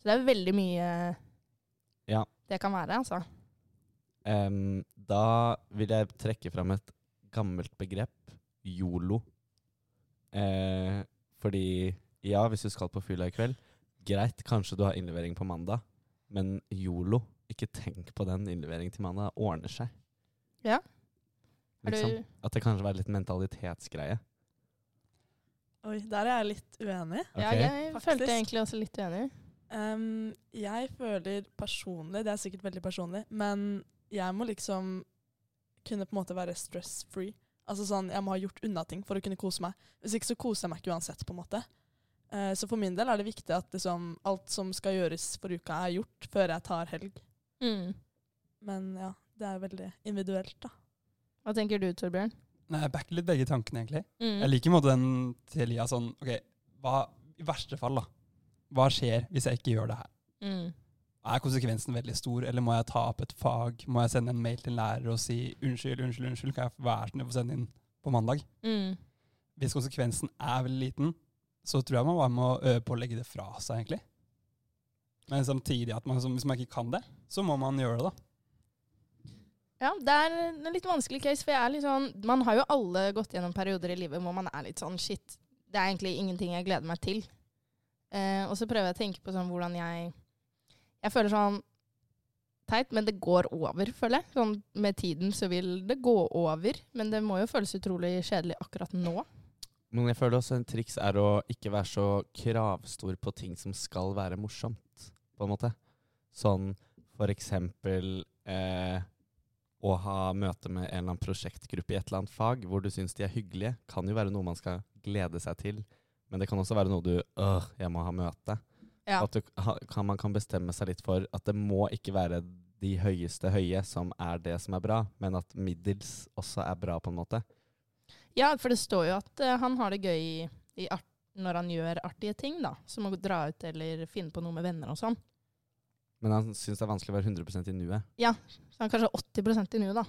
[SPEAKER 2] Så det er veldig mye
[SPEAKER 3] Ja.
[SPEAKER 2] det kan være, altså.
[SPEAKER 3] Em, da vil jeg trekke fram et gammelt begrep, yolo. Eh, fordi, ja, hvis du skal på fylla i kveld, greit, kanskje du har innlevering på mandag, men yolo, ikke tenk på den innleveringen til mandag, det ordner seg.
[SPEAKER 2] Ja. Er du,
[SPEAKER 3] Liksom, at det kanskje er litt mentalitetsgreie.
[SPEAKER 4] Oi, der er jeg litt uenig.
[SPEAKER 2] ja,
[SPEAKER 3] Ok?
[SPEAKER 2] jeg
[SPEAKER 4] Faktisk.
[SPEAKER 2] følte egentlig også litt uenig.
[SPEAKER 4] Ehm, jeg føler personlig, det er sikkert veldig personlig, men jeg må liksom kunne på en måte være stress-free. Altså sånn, Jeg må ha gjort unna ting for å kunne kose meg. Hvis ikke så koser jeg meg ikke uansett. på en måte. Eh, så for min del er det viktig at liksom, alt som skal gjøres for uka, er gjort før jeg tar helg.
[SPEAKER 2] Mm.
[SPEAKER 4] Men ja, det er veldig individuelt, da.
[SPEAKER 2] Hva tenker du, Torbjørn?
[SPEAKER 5] Nei, jeg backer litt begge tankene, egentlig.
[SPEAKER 2] Mm.
[SPEAKER 5] Jeg liker i en måte den til Lia sånn OK, hva, i verste fall, da. Hva skjer hvis jeg ikke gjør det her?
[SPEAKER 2] Mm.
[SPEAKER 5] Er konsekvensen veldig stor, eller må jeg ta opp et fag? Må jeg sende en mail til en lærer og si unnskyld, unnskyld, unnskyld, kan jeg være snill å få sende inn på mandag?
[SPEAKER 2] Mm.
[SPEAKER 5] Hvis konsekvensen er veldig liten, så tror jeg man bare må øve på å legge det fra seg, egentlig. Men samtidig, at man, som- hvis man ikke kan det, så må man gjøre det, da.
[SPEAKER 2] Ja, det er en litt vanskelig case, for jeg er litt sånn Man har jo alle gått gjennom perioder i livet hvor man er litt sånn shit, det er egentlig ingenting jeg gleder meg til. Eh, og så prøver jeg å tenke på sånn hvordan jeg Jeg føler sånn teit, men det går over, føler jeg. Sånn med tiden så vil det gå over, men det må jo føles utrolig kjedelig akkurat nå.
[SPEAKER 3] Men jeg føler også en triks er å ikke være så kravstor på ting som skal være morsomt, på en måte. Sånn for eksempel eh, å ha møte med en eller annen prosjektgruppe i et eller annet fag hvor du syns de er hyggelige, kan jo være noe man skal glede seg til. Men det kan også være noe du øh, jeg må ha møte.
[SPEAKER 2] Ja.
[SPEAKER 3] At du, ha- kan, man kan bestemme seg litt for at det må ikke være de høyeste høye som er det som er bra, men at middels også er bra, på en måte.
[SPEAKER 2] Ja, for det står jo at eh, han har det gøy i, i art, når han gjør artige ting, da. Som å dra ut eller finne på noe med venner og sånn.
[SPEAKER 3] Men han syns det er vanskelig å være 100 i nuet.
[SPEAKER 2] Så han er kanskje 80 i nuet, da.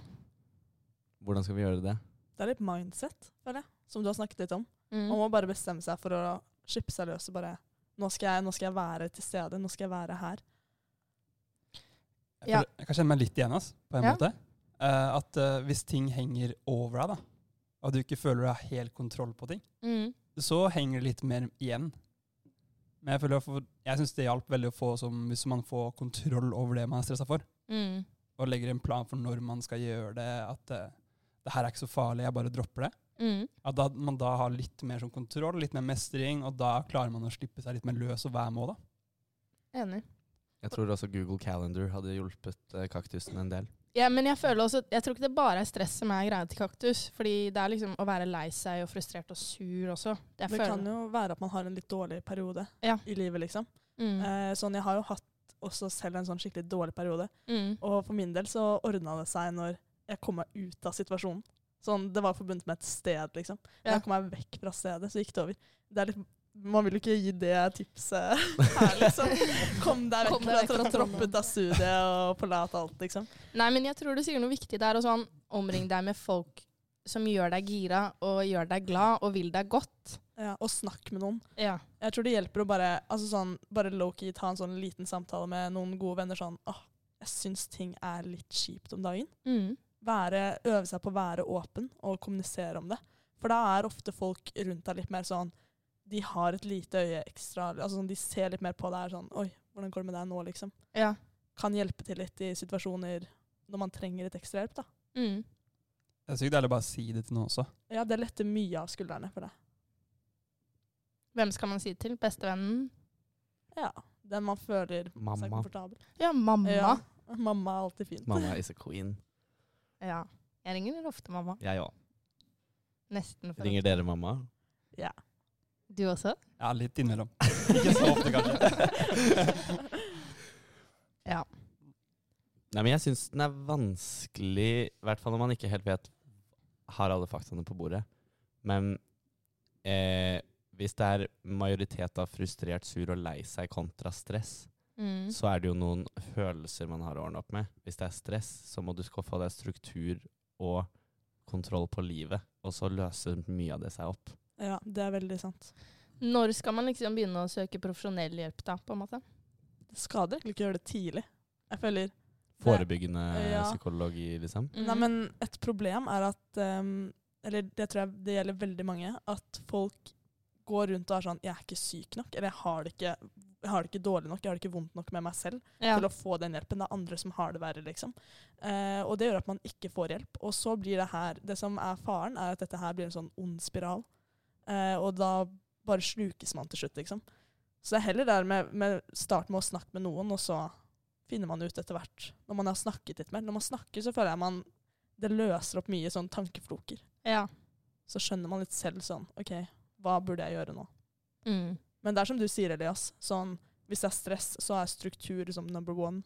[SPEAKER 3] Hvordan skal vi gjøre det?
[SPEAKER 4] Det er litt mindset, føler jeg, som du har snakket litt om.
[SPEAKER 2] Mm.
[SPEAKER 4] Man må bare bestemme seg for å slippe seg løs og bare nå skal, jeg, nå skal jeg være til stede, nå skal jeg være her.
[SPEAKER 5] Jeg,
[SPEAKER 2] Ja.
[SPEAKER 5] føler- jeg kan kjenne meg litt igjen, ass, på en
[SPEAKER 2] Ja.
[SPEAKER 5] måte. Eh, at eh, hvis ting henger over deg, da, og du ikke føler du har helt kontroll på ting,
[SPEAKER 2] Mm.
[SPEAKER 5] så henger det litt mer igjen. Men jeg, føler å få- jeg syns det hjalp veldig å få som, hvis man får kontroll over det man er stressa for,
[SPEAKER 2] Mm.
[SPEAKER 5] og legger en plan for når man skal gjøre det, at eh, det her er ikke så farlig, jeg bare dropper det.
[SPEAKER 2] Mm.
[SPEAKER 5] At da, man da har litt mer sånn kontroll, litt mer mestring, og da klarer man å slippe seg litt mer løs og være med òg, da.
[SPEAKER 2] Enig.
[SPEAKER 3] Jeg tror også Google Calendar hadde hjulpet eh, kaktusen en del.
[SPEAKER 2] Ja, men jeg føler også, jeg tror ikke det bare er stress som er greia til kaktus. Fordi det er liksom å være lei seg og frustrert og sur også. Jeg
[SPEAKER 4] det
[SPEAKER 2] føler,
[SPEAKER 4] kan jo være at man har en litt dårlig periode
[SPEAKER 2] Ja.
[SPEAKER 4] i livet, liksom.
[SPEAKER 2] mm.
[SPEAKER 4] Eh, sånn, jeg har jo hatt også selv en sånn skikkelig dårlig periode.
[SPEAKER 2] Mm.
[SPEAKER 4] Og for min del så ordna det seg når jeg kom meg ut av situasjonen. Sånn, det var forbundet med et sted, liksom.
[SPEAKER 2] Ja.
[SPEAKER 4] Jeg kom meg vekk fra stedet, så gikk det over. Det er litt, man vil jo ikke gi det tipset her, liksom. Kom deg
[SPEAKER 2] Kom
[SPEAKER 4] vekk
[SPEAKER 2] deg
[SPEAKER 4] fra
[SPEAKER 2] vekk
[SPEAKER 4] tra-
[SPEAKER 2] fra
[SPEAKER 4] tropp ut av studiet og forlat alt, liksom.
[SPEAKER 2] Nei, men jeg tror du sier noe viktig der. Og sånn, omring deg med folk som gjør deg gira, og gjør deg glad, og vil deg godt.
[SPEAKER 4] Ja, og snakk med noen.
[SPEAKER 2] Ja.
[SPEAKER 4] Jeg tror det hjelper å bare, altså sånn, bare low-key ta en sånn liten samtale med noen gode venner sånn åh, jeg syns ting er litt kjipt om dagen.
[SPEAKER 2] Mm.
[SPEAKER 4] Være, øve seg på å være åpen og kommunisere om det. For da er ofte folk rundt deg litt mer sånn De har et lite øye ekstra. altså sånn, De ser litt mer på deg er sånn Oi, hvordan går det med deg nå, liksom?
[SPEAKER 2] Ja.
[SPEAKER 4] Kan hjelpe til litt i situasjoner når man trenger litt ekstra hjelp, da.
[SPEAKER 2] Mm.
[SPEAKER 5] Det er sykt deilig å bare si det til noen også.
[SPEAKER 4] Ja, det letter mye av skuldrene for deg.
[SPEAKER 2] Hvem skal man si det til? Bestevennen?
[SPEAKER 4] Ja. Den man føler seg
[SPEAKER 3] Mamma.
[SPEAKER 4] komfortabel.
[SPEAKER 2] Ja, mamma.
[SPEAKER 4] Ja. Mamma er alltid fint.
[SPEAKER 3] Mamma is a queen.
[SPEAKER 2] Ja. Jeg ringer ofte mamma.
[SPEAKER 3] Jeg òg.
[SPEAKER 2] Nesten. for
[SPEAKER 3] Ringer dere mamma?
[SPEAKER 4] Ja.
[SPEAKER 2] ofte. Du også?
[SPEAKER 5] Ja, litt innimellom. Ikke så ofte, kanskje.
[SPEAKER 2] Ja.
[SPEAKER 3] Nei, men jeg syns den er vanskelig, i hvert fall når man ikke helt vet Har alle faktaene på bordet. Men eh, hvis det er majoritet av frustrert, sur og lei seg kontra stress,
[SPEAKER 2] Mm.
[SPEAKER 3] så er det jo noen følelser man har å ordne opp med. Hvis det er stress, så må du skaffe deg struktur og kontroll på livet, og så løser mye av det seg opp.
[SPEAKER 4] ja, det er veldig sant.
[SPEAKER 2] Når skal man liksom begynne å søke profesjonell hjelp, da, på en måte?
[SPEAKER 4] Det skader egentlig ikke å gjøre det tidlig. Jeg føler det-
[SPEAKER 3] Forebyggende
[SPEAKER 4] Ja.
[SPEAKER 3] psykologi, liksom.
[SPEAKER 4] Nei,
[SPEAKER 2] Mm.
[SPEAKER 4] men et problem er at ehm, Eller det tror jeg det gjelder veldig mange. At folk går rundt og er sånn 'Jeg er ikke syk nok.' Eller jeg har det ikke, jeg har det ikke dårlig nok. Jeg har det ikke vondt nok med meg selv
[SPEAKER 2] ja.
[SPEAKER 4] til å få den hjelpen. Det er andre som har det verre, liksom. Eh, og det gjør at man ikke får hjelp. Og så blir det her Det som er faren, er at dette her blir en sånn ond spiral. Eh, og da bare slukes man til slutt, liksom. Så det er heller der med, med start med å snakke med noen, og så finner man ut etter hvert når man har snakket litt mer. Når man snakker, så føler jeg man Det løser opp mye sånn tankefloker.
[SPEAKER 2] ja.
[SPEAKER 4] Så skjønner man litt selv sånn OK, hva burde jeg gjøre nå?
[SPEAKER 2] Mm.
[SPEAKER 4] Men det er som du sier, Elias. Sånn, hvis det er stress, så er struktur liksom, number one.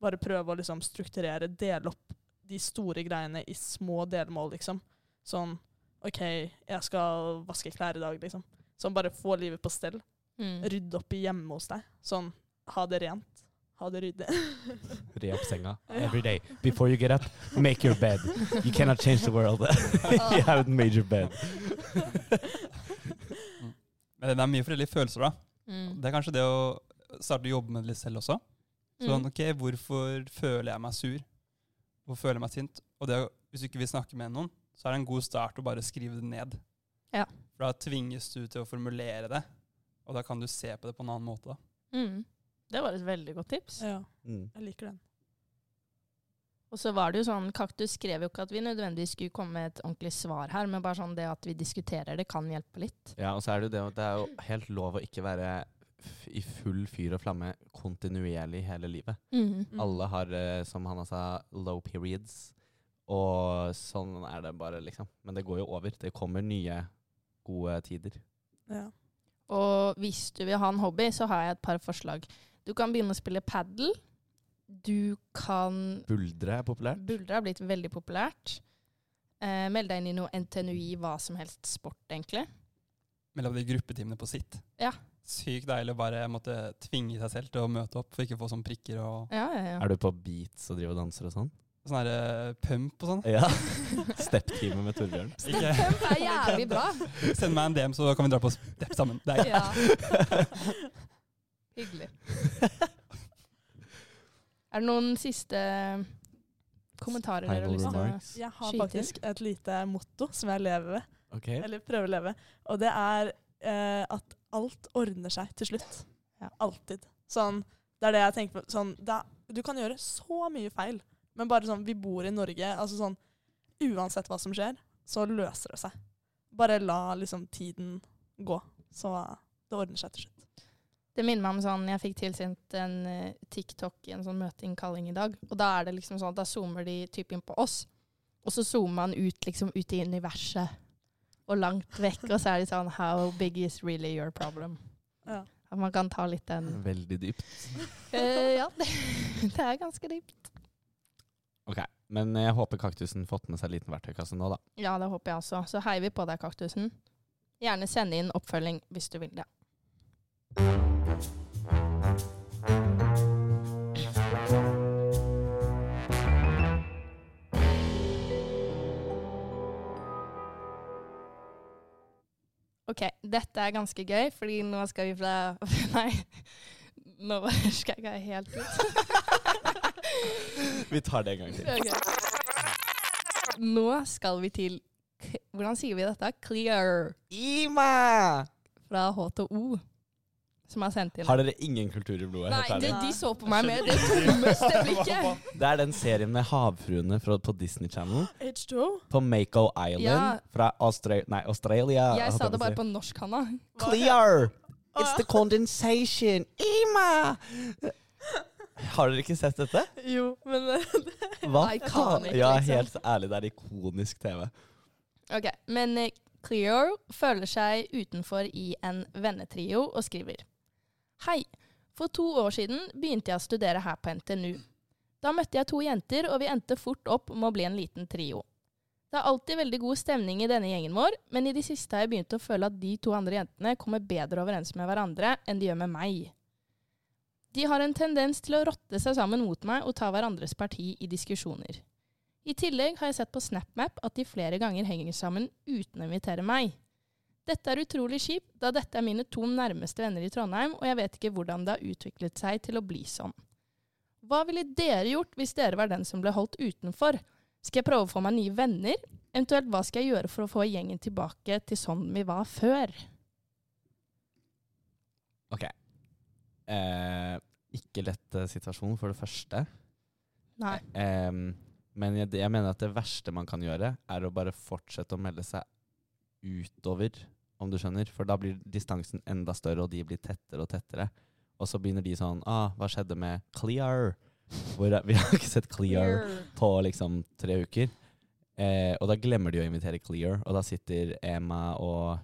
[SPEAKER 4] Bare prøve å liksom, strukturere, dele opp de store greiene i små delmål, liksom. Sånn OK, jeg skal vaske klær i dag, liksom. Sånn bare få livet på stell.
[SPEAKER 2] Mm.
[SPEAKER 4] Rydde opp i hjemme hos deg. Sånn ha det rent. Ha det ryddig.
[SPEAKER 3] Re opp senga every day. Before you get up, make your bed. You cannot change the world. you haven't made your bed.
[SPEAKER 5] Men det er mye forskjellige følelser, da.
[SPEAKER 2] Mm.
[SPEAKER 5] Det er kanskje det å starte å jobbe med det litt selv også. Sånn,
[SPEAKER 2] Mm.
[SPEAKER 5] ok, hvorfor føler jeg meg sur? Hvorfor føler jeg meg sint? Og det, å- hvis du ikke vil snakke med noen, så er det en god start å bare skrive det ned.
[SPEAKER 2] Ja.
[SPEAKER 5] For da tvinges du til å formulere det, og da kan du se på det på en annen måte. Da.
[SPEAKER 2] Mm. Det var et veldig godt tips.
[SPEAKER 4] Ja,
[SPEAKER 3] Mm.
[SPEAKER 4] jeg liker den.
[SPEAKER 2] Og så var det jo sånn, Kaktus skrev jo ikke at vi nødvendigvis skulle komme med et ordentlig svar her, men bare sånn det at vi diskuterer det, kan hjelpe litt.
[SPEAKER 3] Ja, og så er det jo det at det er jo helt lov å ikke være f- i full fyr og flamme kontinuerlig hele livet.
[SPEAKER 4] Mm.
[SPEAKER 3] Alle har, eh, som Hanna sa, low periods. Og sånn er det bare, liksom. Men det går jo over. Det kommer nye, gode tider.
[SPEAKER 4] Ja.
[SPEAKER 2] Og hvis du vil ha en hobby, så har jeg et par forslag. Du kan begynne å spille padel. Du kan
[SPEAKER 3] Buldre er populært.
[SPEAKER 2] Buldre har blitt veldig populært. Eh, meld deg inn i noe NTNUI, hva som helst sport, egentlig.
[SPEAKER 5] Mellom de gruppetimene på sitt.
[SPEAKER 2] Ja.
[SPEAKER 5] Sykt deilig å bare måtte tvinge seg selv til å møte opp for ikke å få sånne prikker og
[SPEAKER 2] Ja, ja, ja.
[SPEAKER 3] Er du på beats og driver og danser og sånn?
[SPEAKER 5] sånn her, eh, pump og sånn.
[SPEAKER 3] Ja. Step-time med Torbjørn.
[SPEAKER 5] Ikke
[SPEAKER 2] Pump er jævlig bra.
[SPEAKER 5] send meg en DM, så kan vi dra på step sammen. Det er
[SPEAKER 2] Ja. Hyggelig. Er det noen siste kommentarer dere har
[SPEAKER 3] Final
[SPEAKER 2] lyst til å
[SPEAKER 3] remarks.
[SPEAKER 4] Jeg har
[SPEAKER 2] Skyt inn.
[SPEAKER 4] faktisk et lite motto som jeg lever ved.
[SPEAKER 3] Ok.
[SPEAKER 4] Eller prøver å leve. Og det er eh, at alt ordner seg til slutt.
[SPEAKER 2] Ja.
[SPEAKER 4] Alltid. Sånn, det er det jeg tenker på. Sånn, det er, du kan gjøre så mye feil, men bare sånn, vi bor i Norge. altså sånn, Uansett hva som skjer, så løser det seg. Bare la liksom tiden gå, så det ordner seg til slutt.
[SPEAKER 2] Det minner meg om sånn, jeg fikk tilsendt en eh, TikTok i en sånn møteinnkalling i dag. Og da er det liksom sånn, at da zoomer de typ inn på oss, og så zoomer man ut liksom ut i universet. Og langt vekk, og så er de sånn How big is really your problem?
[SPEAKER 4] Ja.
[SPEAKER 2] At man kan ta litt den
[SPEAKER 3] Veldig dypt.
[SPEAKER 2] Eh, Ja, det, det er ganske dypt.
[SPEAKER 3] Ok. Men jeg håper kaktusen fått med seg en liten verktøykasse nå, da.
[SPEAKER 2] Ja, det håper jeg også. Så heier vi på deg, kaktusen. Gjerne send inn oppfølging hvis du vil det. Ok, dette er ganske gøy, fordi nå skal vi fra Nei, nå bare skal jeg helt ut.
[SPEAKER 3] Vi tar det en gang til.
[SPEAKER 2] Ok. Nå skal vi til k- Hvordan sier vi dette? Clear
[SPEAKER 3] Ima!
[SPEAKER 2] fra H2O, som har sendt inn.
[SPEAKER 3] Har dere ingen kultur i blodet?
[SPEAKER 2] Nei,
[SPEAKER 3] helt ærlig?
[SPEAKER 2] de, de så på meg med det dummeste blikket.
[SPEAKER 3] Det er den serien med havfruene fra, på Disney Channel.
[SPEAKER 4] H2O?
[SPEAKER 3] På Mako Island
[SPEAKER 2] Ja.
[SPEAKER 3] fra Austra nei, Australia.
[SPEAKER 2] Jeg sa
[SPEAKER 3] holdt jeg
[SPEAKER 2] det
[SPEAKER 3] på å
[SPEAKER 2] bare
[SPEAKER 3] si.
[SPEAKER 2] på norsk, Hanna.
[SPEAKER 3] Clear! It's the condensation! Ima! Har dere ikke sett dette?
[SPEAKER 4] Jo, men eh,
[SPEAKER 3] Hva faen?
[SPEAKER 2] Iconic,
[SPEAKER 3] Ja,
[SPEAKER 2] liksom.
[SPEAKER 3] helt ærlig, det er ikonisk TV.
[SPEAKER 2] Ok, Men eh, Cleo føler seg utenfor i en vennetrio og skriver Hei. For to år siden begynte jeg å studere her på NTNU. Da møtte jeg to jenter, og vi endte fort opp med å bli en liten trio. Det er alltid veldig god stemning i denne gjengen vår, men i det siste har jeg begynt å føle at de to andre jentene kommer bedre overens med hverandre enn de gjør med meg. De har en tendens til å rotte seg sammen mot meg og ta hverandres parti i diskusjoner. I tillegg har jeg sett på SnapMap at de flere ganger henger sammen uten å invitere meg. Dette er utrolig kjipt, da dette er mine to nærmeste venner i Trondheim, og jeg vet ikke hvordan det har utviklet seg til å bli sånn. Hva ville dere gjort hvis dere var den som ble holdt utenfor? Skal jeg prøve å få meg nye venner? Eventuelt hva skal jeg gjøre for å få gjengen tilbake til sånn vi var før?
[SPEAKER 3] Ok. Eh, ikke lett eh, situasjon, for det første.
[SPEAKER 2] Nei.
[SPEAKER 3] Eh, men jeg, jeg mener at det verste man kan gjøre, er å bare fortsette å melde seg utover, om du skjønner. For da blir distansen enda større, og de blir tettere og tettere. Og så begynner de sånn ah, 'Hva skjedde med Clear?' Hvor er, vi har ikke sett Clear på liksom tre uker. Eh, og da glemmer de å invitere Clear, og da sitter Emma og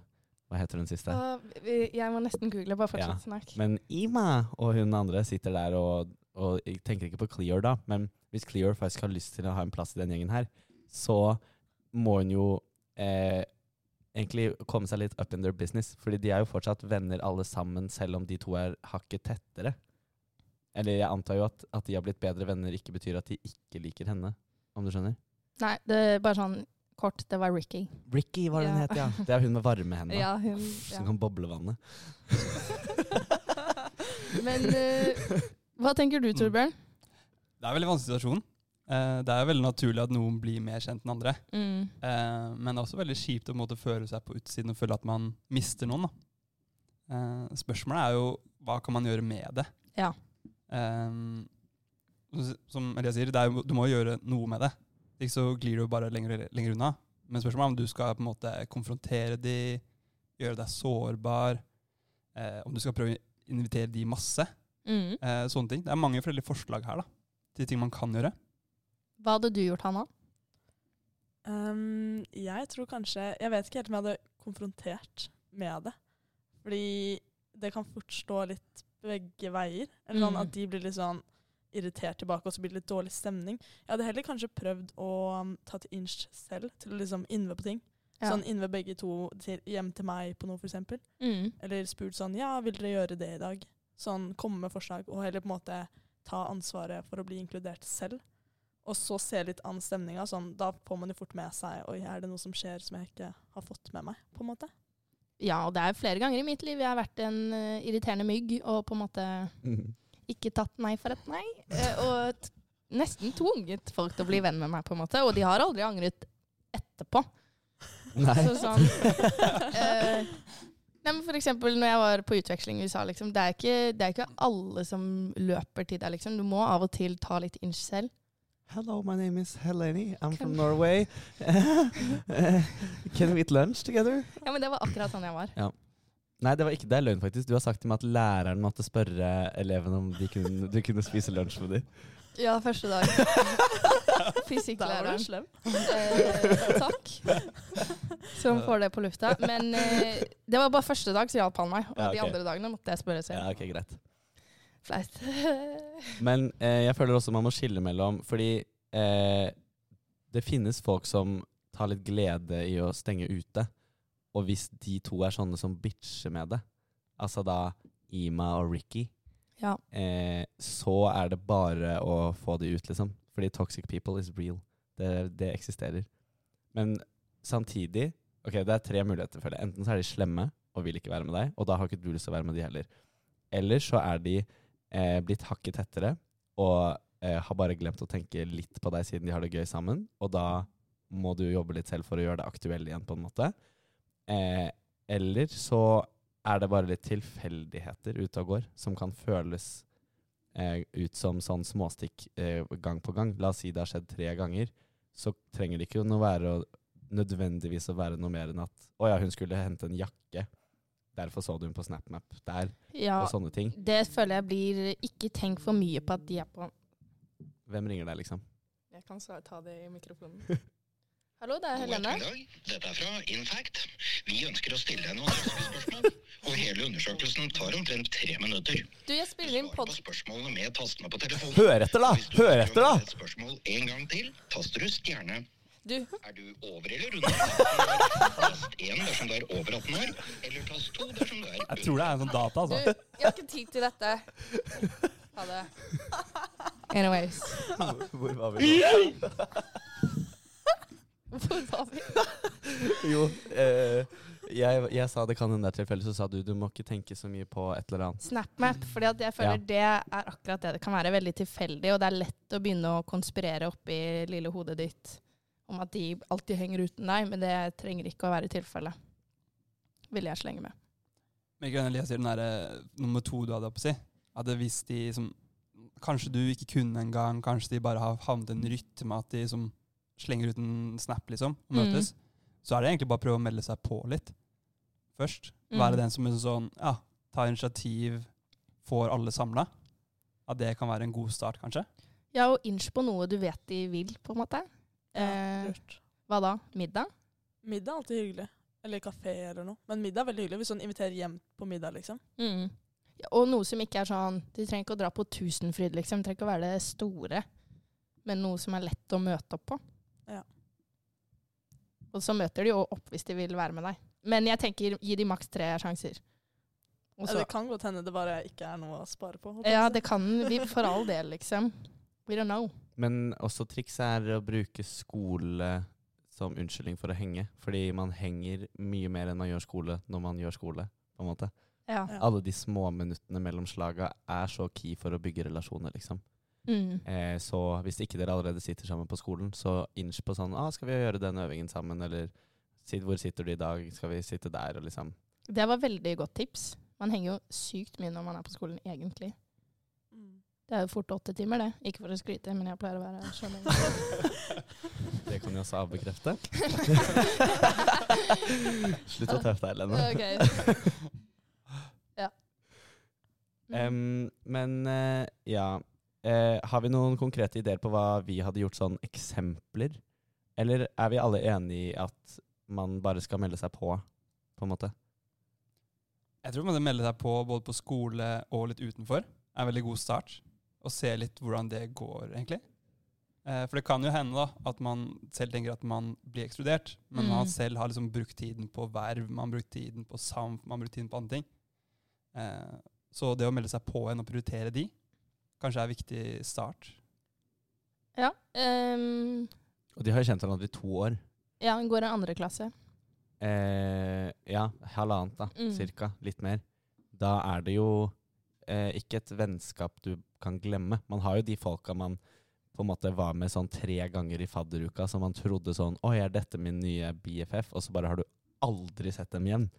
[SPEAKER 3] Hva heter hun siste?
[SPEAKER 2] jeg må nesten google, bare
[SPEAKER 3] Ja,
[SPEAKER 2] fortsett snakk.
[SPEAKER 3] Men Ima og hun andre sitter der og, og jeg tenker ikke på Clear da, men hvis Clear faktisk har lyst til å ha en plass i den gjengen her, så må hun jo eh, egentlig komme seg litt up in their business, fordi de er jo fortsatt venner alle sammen, selv om de to er hakket tettere. Eller jeg antar jo at, at de har blitt bedre venner ikke betyr at de ikke liker henne, om du skjønner.
[SPEAKER 2] Nei, det er bare sånn kort. Det var Ricky.
[SPEAKER 3] Ricky var det hun
[SPEAKER 2] Ja.
[SPEAKER 3] het, ja. Det er hun med varme hender.
[SPEAKER 2] Ja, hun,
[SPEAKER 3] Som kan boble vannet.
[SPEAKER 2] Men eh, hva tenker du, Torbjørn?
[SPEAKER 5] Det er en veldig vanskelig situasjon. Eh, det er jo veldig naturlig at noen blir mer kjent enn andre.
[SPEAKER 2] Mm.
[SPEAKER 5] Eh, men det er også veldig kjipt å på en måte føle seg på utsiden og føle at man mister noen. Da. Eh, spørsmålet er jo hva kan man gjøre med det?
[SPEAKER 2] Ja.
[SPEAKER 5] Eh, som Elias sier, det er jo, du må jo gjøre noe med det. Ikke så glir du bare lenger og lenger unna. Men spørsmålet er om du skal på en måte konfrontere de, gjøre deg sårbar, eh, om du skal prøve å invitere de masse.
[SPEAKER 2] Mm.
[SPEAKER 5] Eh, sånne ting. Det er mange forskjellige forslag her da, til ting man kan gjøre.
[SPEAKER 2] Hva hadde du gjort, Hanna?
[SPEAKER 4] Ehm, jeg tror kanskje Jeg vet ikke helt om jeg hadde konfrontert med det. Fordi det kan fort stå litt begge veier. Eller sånn
[SPEAKER 2] Mm.
[SPEAKER 4] At de blir litt sånn irritert tilbake, og så blir det litt dårlig stemning. Jeg hadde heller kanskje prøvd å um, ta til inch selv, til å liksom innve på ting.
[SPEAKER 2] Ja.
[SPEAKER 4] Sånn innve begge to til, hjem til meg på noe, f.eks.
[SPEAKER 2] Mm.
[SPEAKER 4] Eller spurt sånn Ja, vil dere gjøre det i dag? Sånn komme med forslag, og heller på en måte ta ansvaret for å bli inkludert selv. Og så se litt an stemninga. Sånn, da får man jo fort med seg Oi, er det noe som skjer som jeg ikke har fått med meg? på en måte.
[SPEAKER 2] Ja, og det er flere ganger i mitt liv jeg har vært en eh, irriterende mygg og på en måte
[SPEAKER 3] Mm.
[SPEAKER 2] ikke tatt nei for et nei. eh, og t nesten tvunget folk til å bli venn med meg, på en måte. Og de har aldri angret etterpå.
[SPEAKER 3] Nei.
[SPEAKER 2] Så sånn eh, Nei, men for eksempel når jeg var på utveksling i USA, liksom, det, er ikke, det er ikke alle som løper til deg. Liksom. Du må av og til ta litt inch selv.
[SPEAKER 3] Hello, my name is Helene. I'm
[SPEAKER 2] from
[SPEAKER 3] from Norway. Can we eat lunch together?
[SPEAKER 2] Ja, men Det var akkurat sånn jeg var.
[SPEAKER 3] Nei, det var ikke det er løgn, faktisk. Du har sagt til meg at læreren måtte spørre elevene om de kunne, du kunne spise lunsj med dem.
[SPEAKER 2] Ja, første dag.
[SPEAKER 4] Da var
[SPEAKER 2] Fysikklæreren.
[SPEAKER 4] du slem.
[SPEAKER 2] Eh, takk. Som får det på lufta. Men eh, det var bare første dag, så hjalp han meg. Og
[SPEAKER 3] Ja, ok.
[SPEAKER 2] de andre dagene måtte jeg spørre selv.
[SPEAKER 3] Ja, ok, greit.
[SPEAKER 2] Flaut.
[SPEAKER 3] Men eh, jeg føler også man må skille mellom Fordi eh, det finnes folk som tar litt glede i å stenge ute. Og hvis de to er sånne som bitcher med det, altså da Ima og Ricky,
[SPEAKER 2] ja.
[SPEAKER 3] eh, så er det bare å få de ut, liksom. Fordi toxic people is real. Det, det eksisterer. Men samtidig Ok, det er tre muligheter, føler jeg. Enten så er de slemme og vil ikke være med deg, og da har ikke du lyst til å være med de heller. Eller så er de eh, blitt hakket tettere og eh, har bare glemt å tenke litt på deg siden de har det gøy sammen, og da må du jobbe litt selv for å gjøre deg aktuell igjen, på en måte. Eh, eller så er det bare litt tilfeldigheter ute og går, som kan føles eh, ut som sånn småstikk eh, gang på gang. La oss si det har skjedd tre ganger, så trenger det ikke noe være å, nødvendigvis å være noe mer enn at å ja, hun skulle hente en jakke. Derfor så du hun på SnapMap der,
[SPEAKER 2] Ja,
[SPEAKER 3] og sånne ting.
[SPEAKER 2] det føler jeg blir Ikke tenk for mye på at de er på
[SPEAKER 3] Hvem ringer deg, liksom?
[SPEAKER 2] Jeg kan ta det i mikrofonen. Hallo, det er
[SPEAKER 6] God
[SPEAKER 2] Helene.
[SPEAKER 6] ettermiddag. Dette er fra Infact. Vi ønsker å stille deg noen spørsmål, og hele undersøkelsen tar omtrent tre minutter.
[SPEAKER 2] Du, jeg spiller inn
[SPEAKER 6] Svar på
[SPEAKER 2] pod...
[SPEAKER 6] spørsmålene med tastene på telefonen.
[SPEAKER 3] Hør etter, da!
[SPEAKER 6] Hvis du
[SPEAKER 3] Hør
[SPEAKER 6] ønsker å
[SPEAKER 3] etter, da!
[SPEAKER 6] stille Et spørsmål en gang til, taster du stjerne.
[SPEAKER 2] Du,
[SPEAKER 6] Er du over eller under 18 år? Tast 1 dersom du er over 18 år, eller tast 2 dersom du er
[SPEAKER 5] Jeg tror det er en sånn data,
[SPEAKER 2] du,
[SPEAKER 5] altså.
[SPEAKER 2] jeg har ikke tid til dette. Ha det. Anyways.
[SPEAKER 3] Hvor var vi nå?
[SPEAKER 2] Hvor var vi?
[SPEAKER 3] Jo, eh, jeg, jeg sa det kan hende det er tilfeldig, så sa du du må ikke tenke så mye på et eller annet.
[SPEAKER 2] SnapMap. fordi at jeg føler det er akkurat det. Det kan være veldig tilfeldig, og det er lett å begynne å konspirere oppi lille hodet ditt om at de alltid henger uten deg, men det trenger ikke å være tilfellet. Ville jeg slenge med.
[SPEAKER 5] Mikael Elias sier den derre nummer to du hadde oppe si. At hvis de som Kanskje du ikke kunne engang, kanskje de bare har havnet i en rytme at de som slenger ut en snap, liksom, og
[SPEAKER 2] Mm.
[SPEAKER 5] møtes. Så er det egentlig bare å prøve å melde seg på litt først.
[SPEAKER 2] Mm.
[SPEAKER 5] Være den som er sånn Ja, tar initiativ, får alle samla. At det kan være en god start, kanskje.
[SPEAKER 2] Ja, og inch på noe du vet de vil, på en måte. Eh,
[SPEAKER 4] Lurt.
[SPEAKER 2] hva da? Middag?
[SPEAKER 4] Middag er alltid hyggelig. Eller kafé eller noe. Men middag er veldig hyggelig hvis hun inviterer hjem på middag, liksom.
[SPEAKER 2] Ja, og noe som ikke er sånn De trenger ikke å dra på Tusenfryd, liksom. De trenger ikke å være det store, men noe som er lett å møte opp på.
[SPEAKER 4] Ja.
[SPEAKER 2] Og så møter de jo opp hvis de vil være med deg. Men jeg tenker gi de maks tre sjanser. Og
[SPEAKER 4] Ja,
[SPEAKER 2] så,
[SPEAKER 4] det kan godt hende det bare ikke er noe å spare på. håper jeg
[SPEAKER 2] ja,
[SPEAKER 4] å si.
[SPEAKER 2] det kan vi for all del, liksom. We don't know.
[SPEAKER 3] Men også trikset er å bruke skole som unnskyldning for å henge. Fordi man henger mye mer enn man gjør skole når man gjør skole. på en måte.
[SPEAKER 2] Ja.
[SPEAKER 4] Ja.
[SPEAKER 3] Alle de små minuttene mellom slaga er så key for å bygge relasjoner, liksom.
[SPEAKER 2] Mm.
[SPEAKER 3] Eh, så hvis ikke dere allerede sitter sammen på skolen, så inch på sånn ah, 'Skal vi gjøre den øvingen sammen?' Eller si, 'Hvor sitter du i dag? Skal vi sitte der?' og liksom
[SPEAKER 2] Det var veldig godt tips. Man henger jo sykt mye når man er på skolen, egentlig.
[SPEAKER 4] Mm.
[SPEAKER 2] Det er jo fort åtte timer, det. Ikke for å skryte, men jeg pleier å være her så lenge.
[SPEAKER 3] Det kan jeg også avbekrefte. Slutt å tøffe deg, Helene.
[SPEAKER 2] Ja. Mm.
[SPEAKER 3] Em, men eh, ja Eh, Har vi noen konkrete ideer på hva vi hadde gjort sånn eksempler? Eller er vi alle enige i at man bare skal melde seg på, på en måte?
[SPEAKER 5] Jeg tror man melder seg på både på skole og litt utenfor. er en veldig god start. Og se litt hvordan det går, egentlig. Eh, For det kan jo hende da, at man selv tenker at man blir ekskludert, men man
[SPEAKER 2] Mm.
[SPEAKER 5] selv har liksom brukt tiden på verv, man har brukt tiden på samf, man har brukt tiden på andre ting. Eh, Så det å melde seg på igjen og prioritere de, kanskje er en viktig start.
[SPEAKER 2] ja. Um,
[SPEAKER 3] Og de har jo kjent hverandre i to år.
[SPEAKER 2] ja, hun går i andre klasse.
[SPEAKER 3] Eh, ja, halvannet, da.
[SPEAKER 2] Mm.
[SPEAKER 3] Cirka. Litt mer. Da er det jo eh, ikke et vennskap du kan glemme. Man har jo de folka man på en måte var med sånn tre ganger i fadderuka, som man trodde sånn Oi, er dette min nye BFF? Og så bare har du aldri sett dem igjen.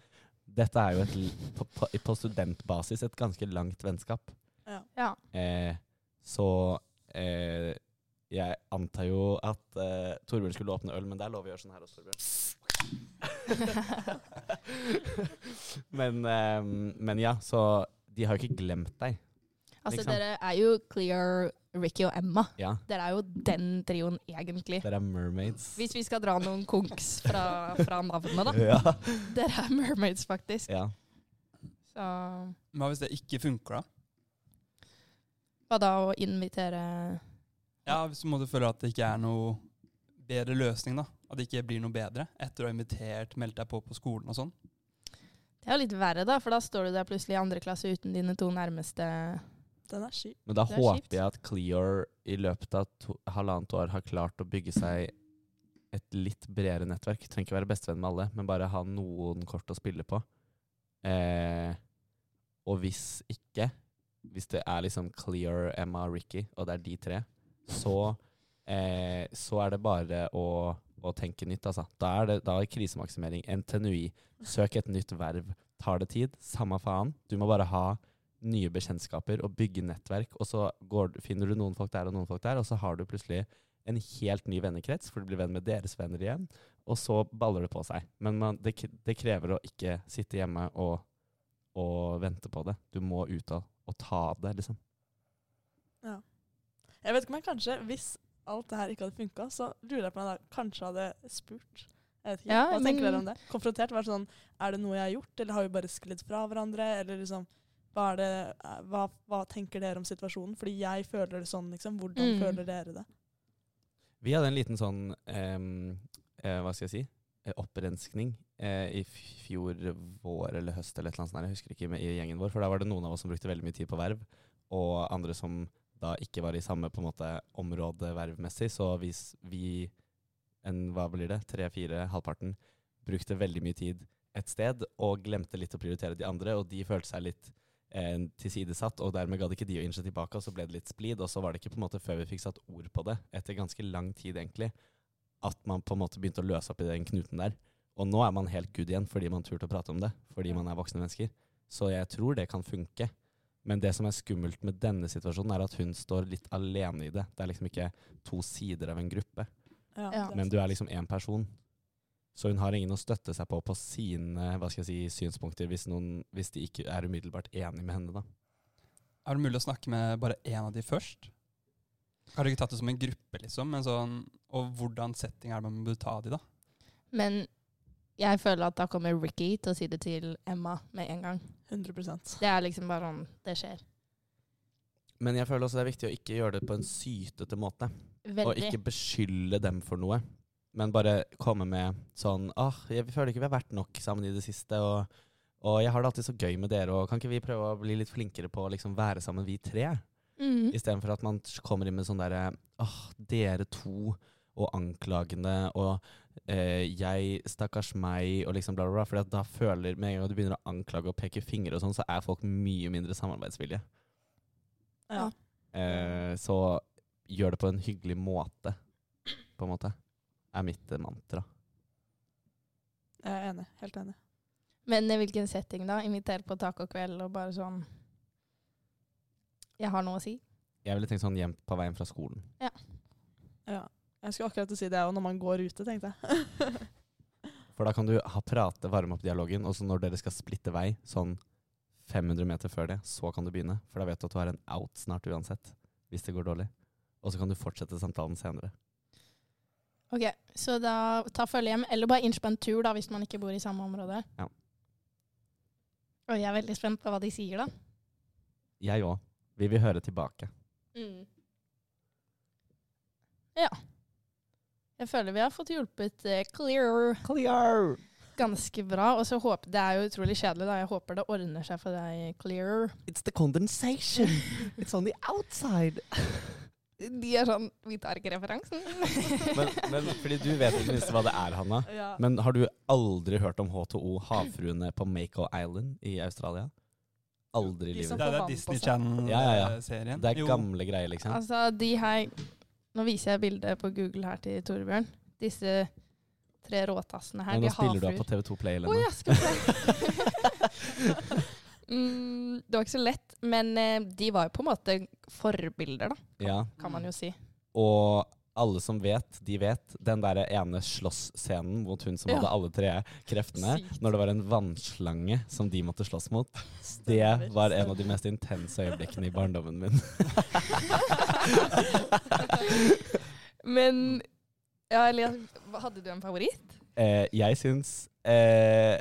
[SPEAKER 3] Dette er jo et, l- på, på, på studentbasis et ganske langt vennskap.
[SPEAKER 4] Ja.
[SPEAKER 2] Ja.
[SPEAKER 3] Eh, så eh, jeg antar jo at eh, Torbjørn skulle åpne øl, men det er lov å gjøre sånn her også, Torbjørn. men, eh, men ja, så de har jo ikke glemt deg.
[SPEAKER 2] Altså,
[SPEAKER 3] Liksom.
[SPEAKER 2] dere er jo Clear, Ricky og Emma.
[SPEAKER 3] Ja,
[SPEAKER 2] Dere er jo den trioen, egentlig.
[SPEAKER 3] dere er mermaids.
[SPEAKER 2] Hvis vi skal dra noen konks fra, fra navnet, da.
[SPEAKER 3] Ja.
[SPEAKER 2] Dere er mermaids, faktisk.
[SPEAKER 3] ja.
[SPEAKER 2] Så
[SPEAKER 5] Men hva hvis det ikke funker, da?
[SPEAKER 2] hva da å invitere
[SPEAKER 5] Ja, Hvis du måtte føle at det ikke er noe bedre løsning, da. At det ikke blir noe bedre etter å ha invitert, meldt deg på på skolen og sånn.
[SPEAKER 2] Det er jo litt verre, da, for da står du der plutselig i andre klasse uten dine to nærmeste
[SPEAKER 4] Den er skip.
[SPEAKER 3] Men da
[SPEAKER 2] Det er
[SPEAKER 3] håper
[SPEAKER 2] kjipt.
[SPEAKER 3] jeg at Cleor i løpet av to, halvannet år har klart å bygge seg et litt bredere nettverk. Trenger ikke være bestevenn med alle, men bare ha noen kort å spille på. Eh, og hvis ikke, hvis det er liksom Cleor, Emma og Ricky, og det er de tre, så, eh, så er det bare å, å tenke nytt, altså. Da er det da er krisemaksimering. NTNUI. Søk et nytt verv. Tar det tid? Samme faen. Du må bare ha nye bekjentskaper og bygge nettverk, og så går, du- finner du noen folk der og noen folk der, og så har du plutselig en helt ny vennekrets, for du blir venn med deres venner igjen, og så baller det på seg. Men man, det, k- det krever å ikke sitte hjemme og og vente på det. Du må ut av og ta det, liksom.
[SPEAKER 4] Jeg vet ikke om jeg kanskje, hvis alt det her ikke hadde funka, så lurer jeg på om jeg da kanskje hadde spurt. Jeg vet ikke,
[SPEAKER 2] Ja,
[SPEAKER 4] Hva
[SPEAKER 2] men-
[SPEAKER 4] tenker dere om det? Konfrontert? Vært sånn Er det noe jeg har gjort, eller har vi bare sklidd fra hverandre? Eller liksom hva, er det, eh, hva, hva tenker dere om situasjonen? Fordi jeg føler det sånn, liksom. Hvordan
[SPEAKER 2] Mm.
[SPEAKER 4] føler dere det?
[SPEAKER 3] Vi hadde en liten sånn ehm, eh, Hva skal jeg si? Eh, Opprenskning eh, i f- fjor vår eller høst eller et eller annet sånt. her, Jeg husker ikke med i gjengen vår, for da var det noen av oss som brukte veldig mye tid på verv, og andre som da ikke var i samme på en måte område vervmessig. Så hvis vi, en, hva blir det, tre-fire, halvparten, brukte veldig mye tid et sted og glemte litt å prioritere de andre, og de følte seg litt eh, tilsidesatt, og dermed gadd ikke de å innse tilbake, og så ble det litt splid, og så var det ikke på en måte før vi fikk satt ord på det, etter ganske lang tid egentlig, at man på en måte begynte å løse opp i den knuten der. Og nå er man helt good igjen fordi man turte å prate om det, fordi man er voksne mennesker. Så jeg tror det kan funke. Men det som er skummelt med denne situasjonen, er at hun står litt alene i det. Det er liksom ikke to sider av en gruppe.
[SPEAKER 4] Ja,
[SPEAKER 2] Ja.
[SPEAKER 4] det
[SPEAKER 3] Men du er
[SPEAKER 4] sant.
[SPEAKER 3] liksom én person. Så hun har ingen å støtte seg på på sine hva skal jeg si, synspunkter, hvis, noen, hvis de ikke er umiddelbart enig med henne. da.
[SPEAKER 5] Er det mulig å snakke med bare én av de først? Har du ikke tatt det som en gruppe, liksom? Men sånn, og hvordan setting er det man bør ta de, da?
[SPEAKER 2] Men jeg føler at da kommer Ricky til å si det til Emma med en gang.
[SPEAKER 4] 100
[SPEAKER 2] Det er liksom bare sånn det skjer.
[SPEAKER 3] Men jeg føler også det er viktig å ikke gjøre det på en sytete måte. Og
[SPEAKER 2] Veldig.
[SPEAKER 3] ikke beskylde dem for noe. Men bare komme med sånn ah, Jeg føler ikke vi har vært nok sammen i det siste. Og, og jeg har det alltid så gøy med dere. Og kan ikke vi prøve å bli litt flinkere på å liksom være sammen, vi tre?
[SPEAKER 2] Mhm.
[SPEAKER 3] Istedenfor at man t- kommer inn med sånn derre Åh, dere to og anklagende og eh, jeg, stakkars meg og liksom bla, bla, bla. For da føler Med en gang du begynner å anklage og peke fingre og sånn, så er folk mye mindre samarbeidsvillige.
[SPEAKER 4] Ja.
[SPEAKER 3] Eh, så gjør det på en hyggelig måte, på en måte, er mitt eh, mantra.
[SPEAKER 4] Jeg er enig. Helt enig.
[SPEAKER 2] Men i hvilken setting da? Inviter på tacokveld og bare sånn Jeg har noe å si.
[SPEAKER 3] Jeg ville tenkt sånn hjem på veien fra skolen.
[SPEAKER 4] Ja. Jeg skulle akkurat til å si det òg, når man går ute, tenkte jeg.
[SPEAKER 3] For da kan du ha prate, varme opp dialogen, og så når dere skal splitte vei, sånn 500 meter før det, så kan du begynne. For da vet du at du har en out snart uansett, hvis det går dårlig. Og så kan du fortsette samtalen senere.
[SPEAKER 2] Ok, Så da ta følge hjem, eller bare innse på en tur da, hvis man ikke bor i samme område.
[SPEAKER 3] Ja.
[SPEAKER 2] Og jeg er veldig spent på hva de sier, da.
[SPEAKER 3] Jeg òg. Vi vil høre tilbake.
[SPEAKER 2] Mm. Ja. Jeg føler vi har fått hjulpet eh, Clear ganske bra. Og så håper Det er jo utrolig kjedelig, da. Jeg håper det ordner seg for deg, Clear.
[SPEAKER 3] It's the condensation. It's on the outside.
[SPEAKER 2] De er sånn Vi tar ikke referansen.
[SPEAKER 3] Men, men fordi du vet ikke minst hva det er, Hanna.
[SPEAKER 4] ja.
[SPEAKER 3] Men har du aldri hørt om H2O, havfruene på Mako Island i Australia? Aldri i
[SPEAKER 4] De som-
[SPEAKER 3] livet.
[SPEAKER 5] Det
[SPEAKER 4] får
[SPEAKER 5] er
[SPEAKER 4] vann
[SPEAKER 5] det
[SPEAKER 4] på
[SPEAKER 5] Disney eh,
[SPEAKER 4] seg.
[SPEAKER 3] Ja, ja, ja.
[SPEAKER 5] Channel-serien.
[SPEAKER 3] Det er gamle greier, liksom.
[SPEAKER 2] Altså, de her Nå viser jeg bildet på Google her til Torbjørn. Disse tre råtassene her,
[SPEAKER 3] Men
[SPEAKER 2] de
[SPEAKER 3] nå
[SPEAKER 2] er
[SPEAKER 3] spiller du av
[SPEAKER 2] havfruer.
[SPEAKER 3] på TV2 Play,
[SPEAKER 2] Å
[SPEAKER 3] Elena.
[SPEAKER 2] ja, skal vi se. mm, det var ikke så lett, men eh, de var jo på en måte forbilder, da,
[SPEAKER 3] Ja,
[SPEAKER 2] kan man jo si.
[SPEAKER 3] Og alle som vet, de vet. Den der ene slåssscenen mot hun som
[SPEAKER 2] Ja.
[SPEAKER 3] hadde alle tre kreftene.
[SPEAKER 2] Sykt.
[SPEAKER 3] Når det var en vannslange som de måtte slåss mot. Det var en av de mest intense øyeblikkene i barndommen min. Mm.
[SPEAKER 2] men ja, Elias, hva- hadde du en favoritt?
[SPEAKER 3] Eh, jeg syns eh,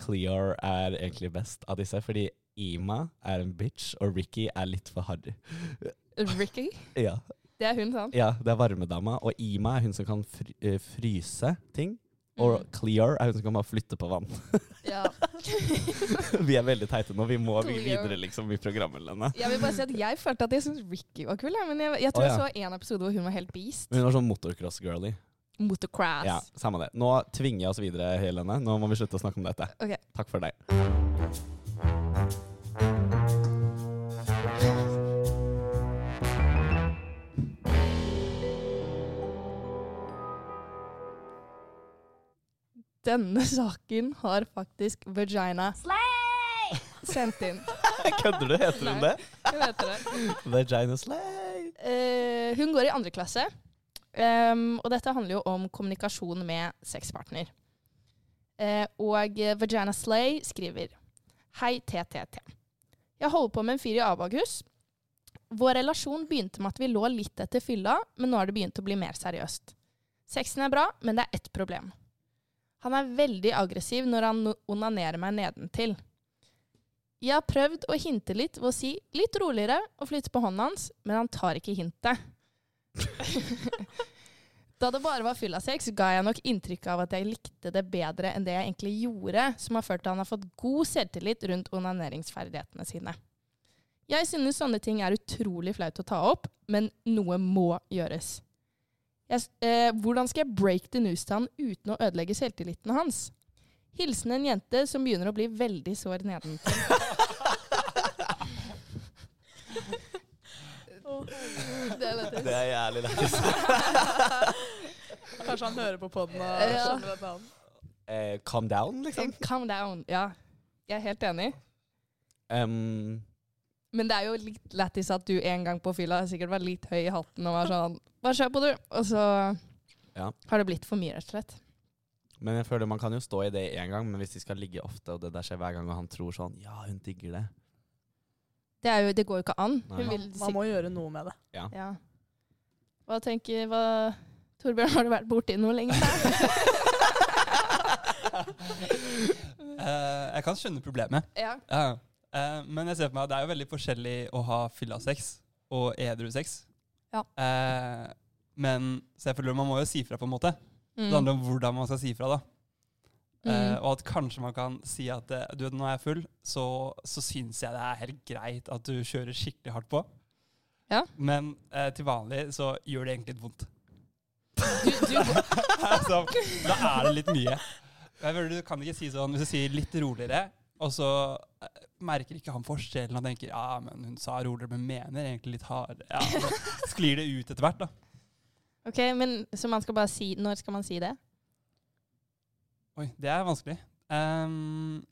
[SPEAKER 3] Clear er egentlig best av disse, fordi Ima er en bitch, og Ricky er litt for harry.
[SPEAKER 2] Ricky?
[SPEAKER 3] Ja.
[SPEAKER 2] Det er hun, sant?
[SPEAKER 3] ja, det er varmedama, og Ima er hun som kan fry eh, fryse ting. Og
[SPEAKER 2] Mm.
[SPEAKER 3] Clear er hun som kan bare flytte på vann.
[SPEAKER 2] Ja.
[SPEAKER 3] vi er veldig teite nå. Vi må vi
[SPEAKER 2] Clear.
[SPEAKER 3] videre liksom, i programmet. Lene.
[SPEAKER 2] Jeg vil bare si at jeg følte at jeg syntes Ricky var kul, jeg, men jeg, jeg tror
[SPEAKER 3] Å,
[SPEAKER 2] jeg
[SPEAKER 3] ja.
[SPEAKER 2] så en episode hvor hun var helt beast.
[SPEAKER 3] Hun var sånn motocross-girly.
[SPEAKER 2] Motocross.
[SPEAKER 3] Mm. Ja, samme det. Nå tvinger jeg oss videre, Helene. Nå må vi slutte å snakke om dette.
[SPEAKER 2] Ok.
[SPEAKER 3] Takk for deg.
[SPEAKER 2] Denne saken har faktisk Vagina sendt inn.
[SPEAKER 3] Kødder du? Heter hun
[SPEAKER 2] Nei.
[SPEAKER 3] det?
[SPEAKER 2] Jeg vet det.
[SPEAKER 3] Vagina slay.
[SPEAKER 2] Eh, hun går i andre klasse, Ehm, og dette handler jo om kommunikasjon med sexpartner. Eh, og eh, Vagina Slay skriver Hei TTT. Jeg holder på med en fyr i Abakus. Vår relasjon begynte med at vi lå litt etter fylla, men nå har det begynt å bli mer seriøst. Sexen er bra, men det er ett problem. Han er veldig aggressiv når han no- onanerer meg nedentil. Jeg har prøvd å hinte litt ved å si litt roligere og flytte på hånden hans, men han tar ikke hintet. da det bare var fyllasex, ga jeg nok inntrykk av at jeg likte det bedre enn det jeg egentlig gjorde, som har ført til at han har fått god selvtillit rundt onaneringsferdighetene sine. Jeg synes sånne ting er utrolig flaut å ta opp, men noe må gjøres. Jeg, s- eh, hvordan skal jeg break the news til han uten å ødelegge selvtilliten hans? Hilsen en jente som begynner å bli veldig sår neden. Det er lettest.
[SPEAKER 3] Det er jævlig lættis.
[SPEAKER 4] Kanskje han hører på poden og
[SPEAKER 2] Ja.
[SPEAKER 4] skjønner at han
[SPEAKER 3] Eh, calm down, liksom.
[SPEAKER 2] Calm down. Ja, jeg er helt enig.
[SPEAKER 3] Em,
[SPEAKER 2] Men det er jo litt lættis at du en gang på fylla sikkert var litt høy i hatten og var sånn Bare kjør på, du. Og så
[SPEAKER 3] Ja.
[SPEAKER 2] har det blitt for mye, rett og slett.
[SPEAKER 3] men jeg føler man kan jo stå i det én gang, men hvis de skal ligge ofte, og det der skjer hver gang, og han tror sånn Ja, hun digger det.
[SPEAKER 2] Det, er jo, det går jo ikke an.
[SPEAKER 3] Nei.
[SPEAKER 2] Hun vil
[SPEAKER 4] Man
[SPEAKER 2] sikkert
[SPEAKER 4] må gjøre noe med det.
[SPEAKER 2] ja. Hva tenker hva, Torbjørn, har du vært borti noe lenger?
[SPEAKER 5] Eh, jeg kan skjønne problemet.
[SPEAKER 2] ja.
[SPEAKER 5] Ja. Eh, men jeg ser for meg at det er jo veldig forskjellig å ha fyllasex og edru sex.
[SPEAKER 2] Ja.
[SPEAKER 5] Eh, men så jeg føler man må jo si fra, på en måte.
[SPEAKER 2] Mm.
[SPEAKER 4] Mm.
[SPEAKER 5] Det handler om hvordan man skal si fra. da. Eh, og at kanskje man kan si at eh, du vet, nå er jeg full, så, så syns jeg det er helt greit at du kjører skikkelig hardt på.
[SPEAKER 2] Ja.
[SPEAKER 5] Men eh, til vanlig så gjør det egentlig litt vondt.
[SPEAKER 2] Du, du,
[SPEAKER 5] altså, da er det litt mye. Jeg føler Du kan ikke si sånn hvis du sier litt roligere, og så eh, merker ikke han forskjellen og tenker ja, men hun sa roligere, men mener egentlig litt hard. Ja, så sklir det ut etter hvert, da.
[SPEAKER 2] ok, men Så man skal bare si Når skal man si det?
[SPEAKER 5] Oi, det er vanskelig. Ehm,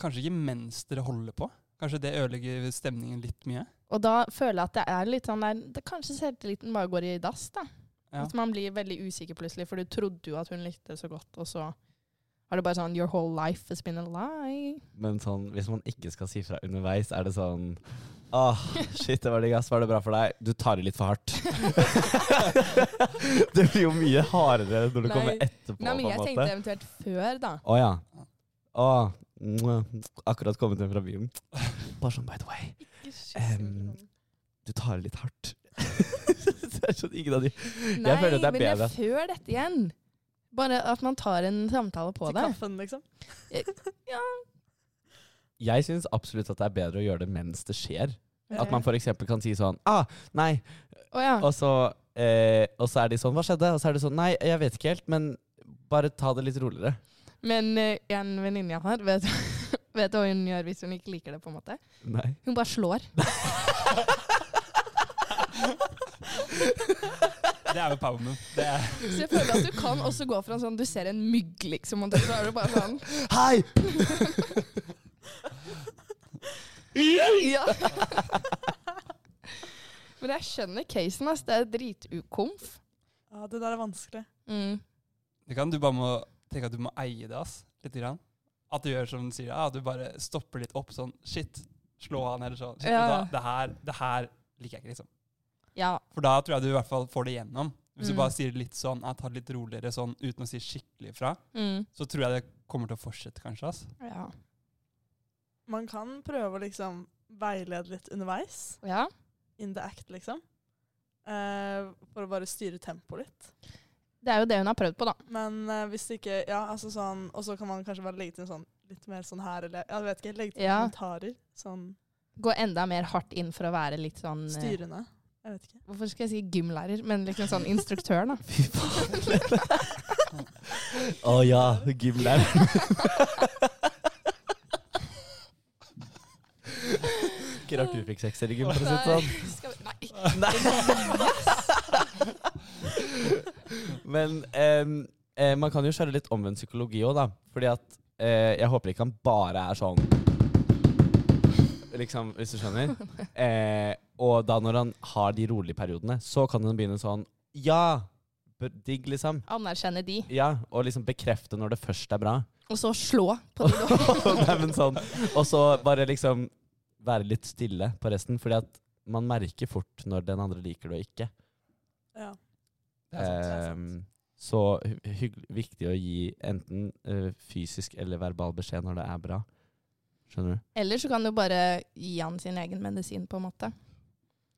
[SPEAKER 5] kanskje ikke mens dere holder på? Kanskje det ødelegger stemningen litt mye?
[SPEAKER 2] Og da føler jeg at det er litt sånn der det Kanskje selvtilliten bare går i dass, da.
[SPEAKER 5] Ja.
[SPEAKER 2] At man blir veldig usikker plutselig, for du trodde jo at hun likte det så godt, og så har det bare sånn Your whole life has been a lie.
[SPEAKER 3] Men sånn, hvis man ikke skal si fra underveis, er det sånn Åh, shit, det var digg, ass. Var det bra for deg? Du tar i litt for hardt. det blir jo mye hardere når du
[SPEAKER 2] Nei.
[SPEAKER 3] kommer etterpå,
[SPEAKER 2] Nei, men
[SPEAKER 3] på en
[SPEAKER 2] jeg
[SPEAKER 3] måte.
[SPEAKER 2] tenkte eventuelt før, da.
[SPEAKER 3] Å ja. Å, mwah. akkurat kommet hjem fra byen. Bare sånn, by the way, Em, du tar i litt hardt. det er sånn ingen av de
[SPEAKER 2] Nei,
[SPEAKER 3] føler det er
[SPEAKER 2] men
[SPEAKER 3] bedre.
[SPEAKER 2] jeg før dette igjen. Bare at man tar en samtale på
[SPEAKER 4] Til
[SPEAKER 2] det.
[SPEAKER 4] kaffen, liksom.
[SPEAKER 3] Jeg syns absolutt at det er bedre å gjøre det mens det skjer. At
[SPEAKER 4] Eh,
[SPEAKER 2] Ok.
[SPEAKER 3] man f.eks. kan si sånn Ah, nei.
[SPEAKER 2] Å ja.
[SPEAKER 3] Og så, eh, og så er de sånn Hva skjedde? Og så er det sånn Nei, jeg vet ikke helt, men bare ta det litt roligere.
[SPEAKER 2] Men eh, en venninne jeg har, vet, vet hva hun gjør hvis hun ikke liker det, på en måte?
[SPEAKER 3] Nei.
[SPEAKER 2] Hun bare slår.
[SPEAKER 5] Det er jo power move. Det er,
[SPEAKER 2] Så jeg føler at du kan også gå fra en sånn Du ser en mygg, liksom, og så er du bare sånn
[SPEAKER 3] Hei!
[SPEAKER 2] Ja. Men jeg skjønner casen, ass. Det er dritukomf.
[SPEAKER 4] Ja, det der er vanskelig.
[SPEAKER 2] Mm.
[SPEAKER 5] det kan du bare må tenke at du må eie det, ass. Litt grann. At du gjør som du sier, ja, at du bare stopper litt opp sånn Shit, slå han, eller sånn. Shit,
[SPEAKER 2] Ja.
[SPEAKER 5] da, det, her, det her liker jeg ikke, liksom.
[SPEAKER 2] Ja.
[SPEAKER 5] For da tror jeg du i hvert fall får det igjennom. Hvis
[SPEAKER 2] Mm.
[SPEAKER 5] du bare sier litt sånn, jeg tar det litt roligere sånn, uten å si skikkelig fra,
[SPEAKER 2] Mm.
[SPEAKER 5] så tror jeg det kommer til å fortsette, kanskje. ass.
[SPEAKER 2] ja.
[SPEAKER 4] Man kan prøve å liksom veilede litt underveis.
[SPEAKER 2] Ja.
[SPEAKER 4] In the act, liksom. Eh, for å bare styre tempoet litt.
[SPEAKER 2] Det er jo det hun har prøvd på, da.
[SPEAKER 4] Men eh, hvis det ikke Ja, altså sånn Og så kan man kanskje bare legge til en sånn litt mer sånn her, eller Jeg vet ikke. Legge til
[SPEAKER 2] Ja.
[SPEAKER 4] kommentarer. Sånn
[SPEAKER 2] Gå enda mer hardt inn for å være litt sånn eh,
[SPEAKER 4] styrende. Jeg vet ikke.
[SPEAKER 2] Hvorfor skal jeg si gymlærer, men liksom sånn instruktør, da.
[SPEAKER 3] Fy faen. Å ja, gymlæreren. Ikke rart du fikk sekser i gym, for å si det sånn.
[SPEAKER 2] Skal vi- Nei.
[SPEAKER 3] Men em, eh, man kan jo kjøre litt omvendt psykologi òg, da. Fordi at eh, jeg håper ikke han bare er sånn Liksom, hvis du skjønner. Eh, og da når han har de rolige periodene, så kan han begynne sånn Ja! b- Digg, liksom.
[SPEAKER 2] Anerkjenne de.
[SPEAKER 3] Ja, Og liksom bekrefte når det først er bra.
[SPEAKER 2] Å Og så slå på de lårene.
[SPEAKER 3] Nei, men sånn. Og så bare liksom være litt stille på resten, fordi at man merker fort når den andre liker det og ikke.
[SPEAKER 4] Ja.
[SPEAKER 5] Det er
[SPEAKER 4] sånn
[SPEAKER 5] sant, det er sant.
[SPEAKER 3] Ehm, så hy- hygg- viktig å gi enten eh, fysisk eller verbal beskjed når det er bra. Skjønner du?
[SPEAKER 2] Eller så kan du bare gi han sin egen medisin, på en måte.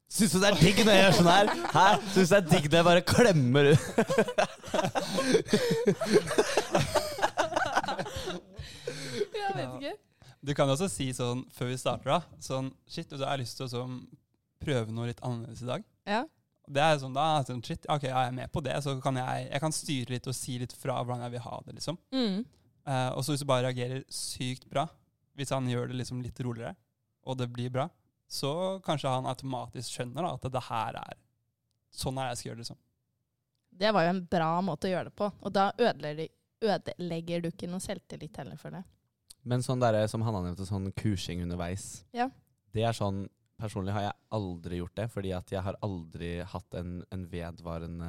[SPEAKER 3] Syns du det er digg når jeg gjør sånn her? Hæ? Syns du det er digg når jeg bare klemmer ut?
[SPEAKER 2] Jeg
[SPEAKER 5] vet
[SPEAKER 2] ikke.
[SPEAKER 5] Du kan jo også si sånn før vi starter, da. Sånn shit, du, jeg har lyst til å sånn, prøve noe litt annerledes i dag.
[SPEAKER 2] Ja.
[SPEAKER 5] Det er sånn, da, sånn shit, ok, ja, jeg er med på det, så kan jeg, jeg kan styre litt og si litt fra hvordan jeg vil ha det, liksom.
[SPEAKER 2] Mm.
[SPEAKER 5] Eh, og så hvis du bare reagerer sykt bra, hvis han gjør det liksom litt roligere, og det blir bra, så kanskje han automatisk skjønner da, at det her er sånn er det jeg skal gjøre det, liksom.
[SPEAKER 2] Det var jo en bra måte å gjøre det på. Og da ødelegger, de- ødelegger du ikke noe selvtillit heller for det.
[SPEAKER 3] Men sånn der, som Hanna nevnte, sånn kursing underveis.
[SPEAKER 2] Ja.
[SPEAKER 3] Det er sånn, Personlig har jeg aldri gjort det, fordi at jeg har aldri hatt en, en vedvarende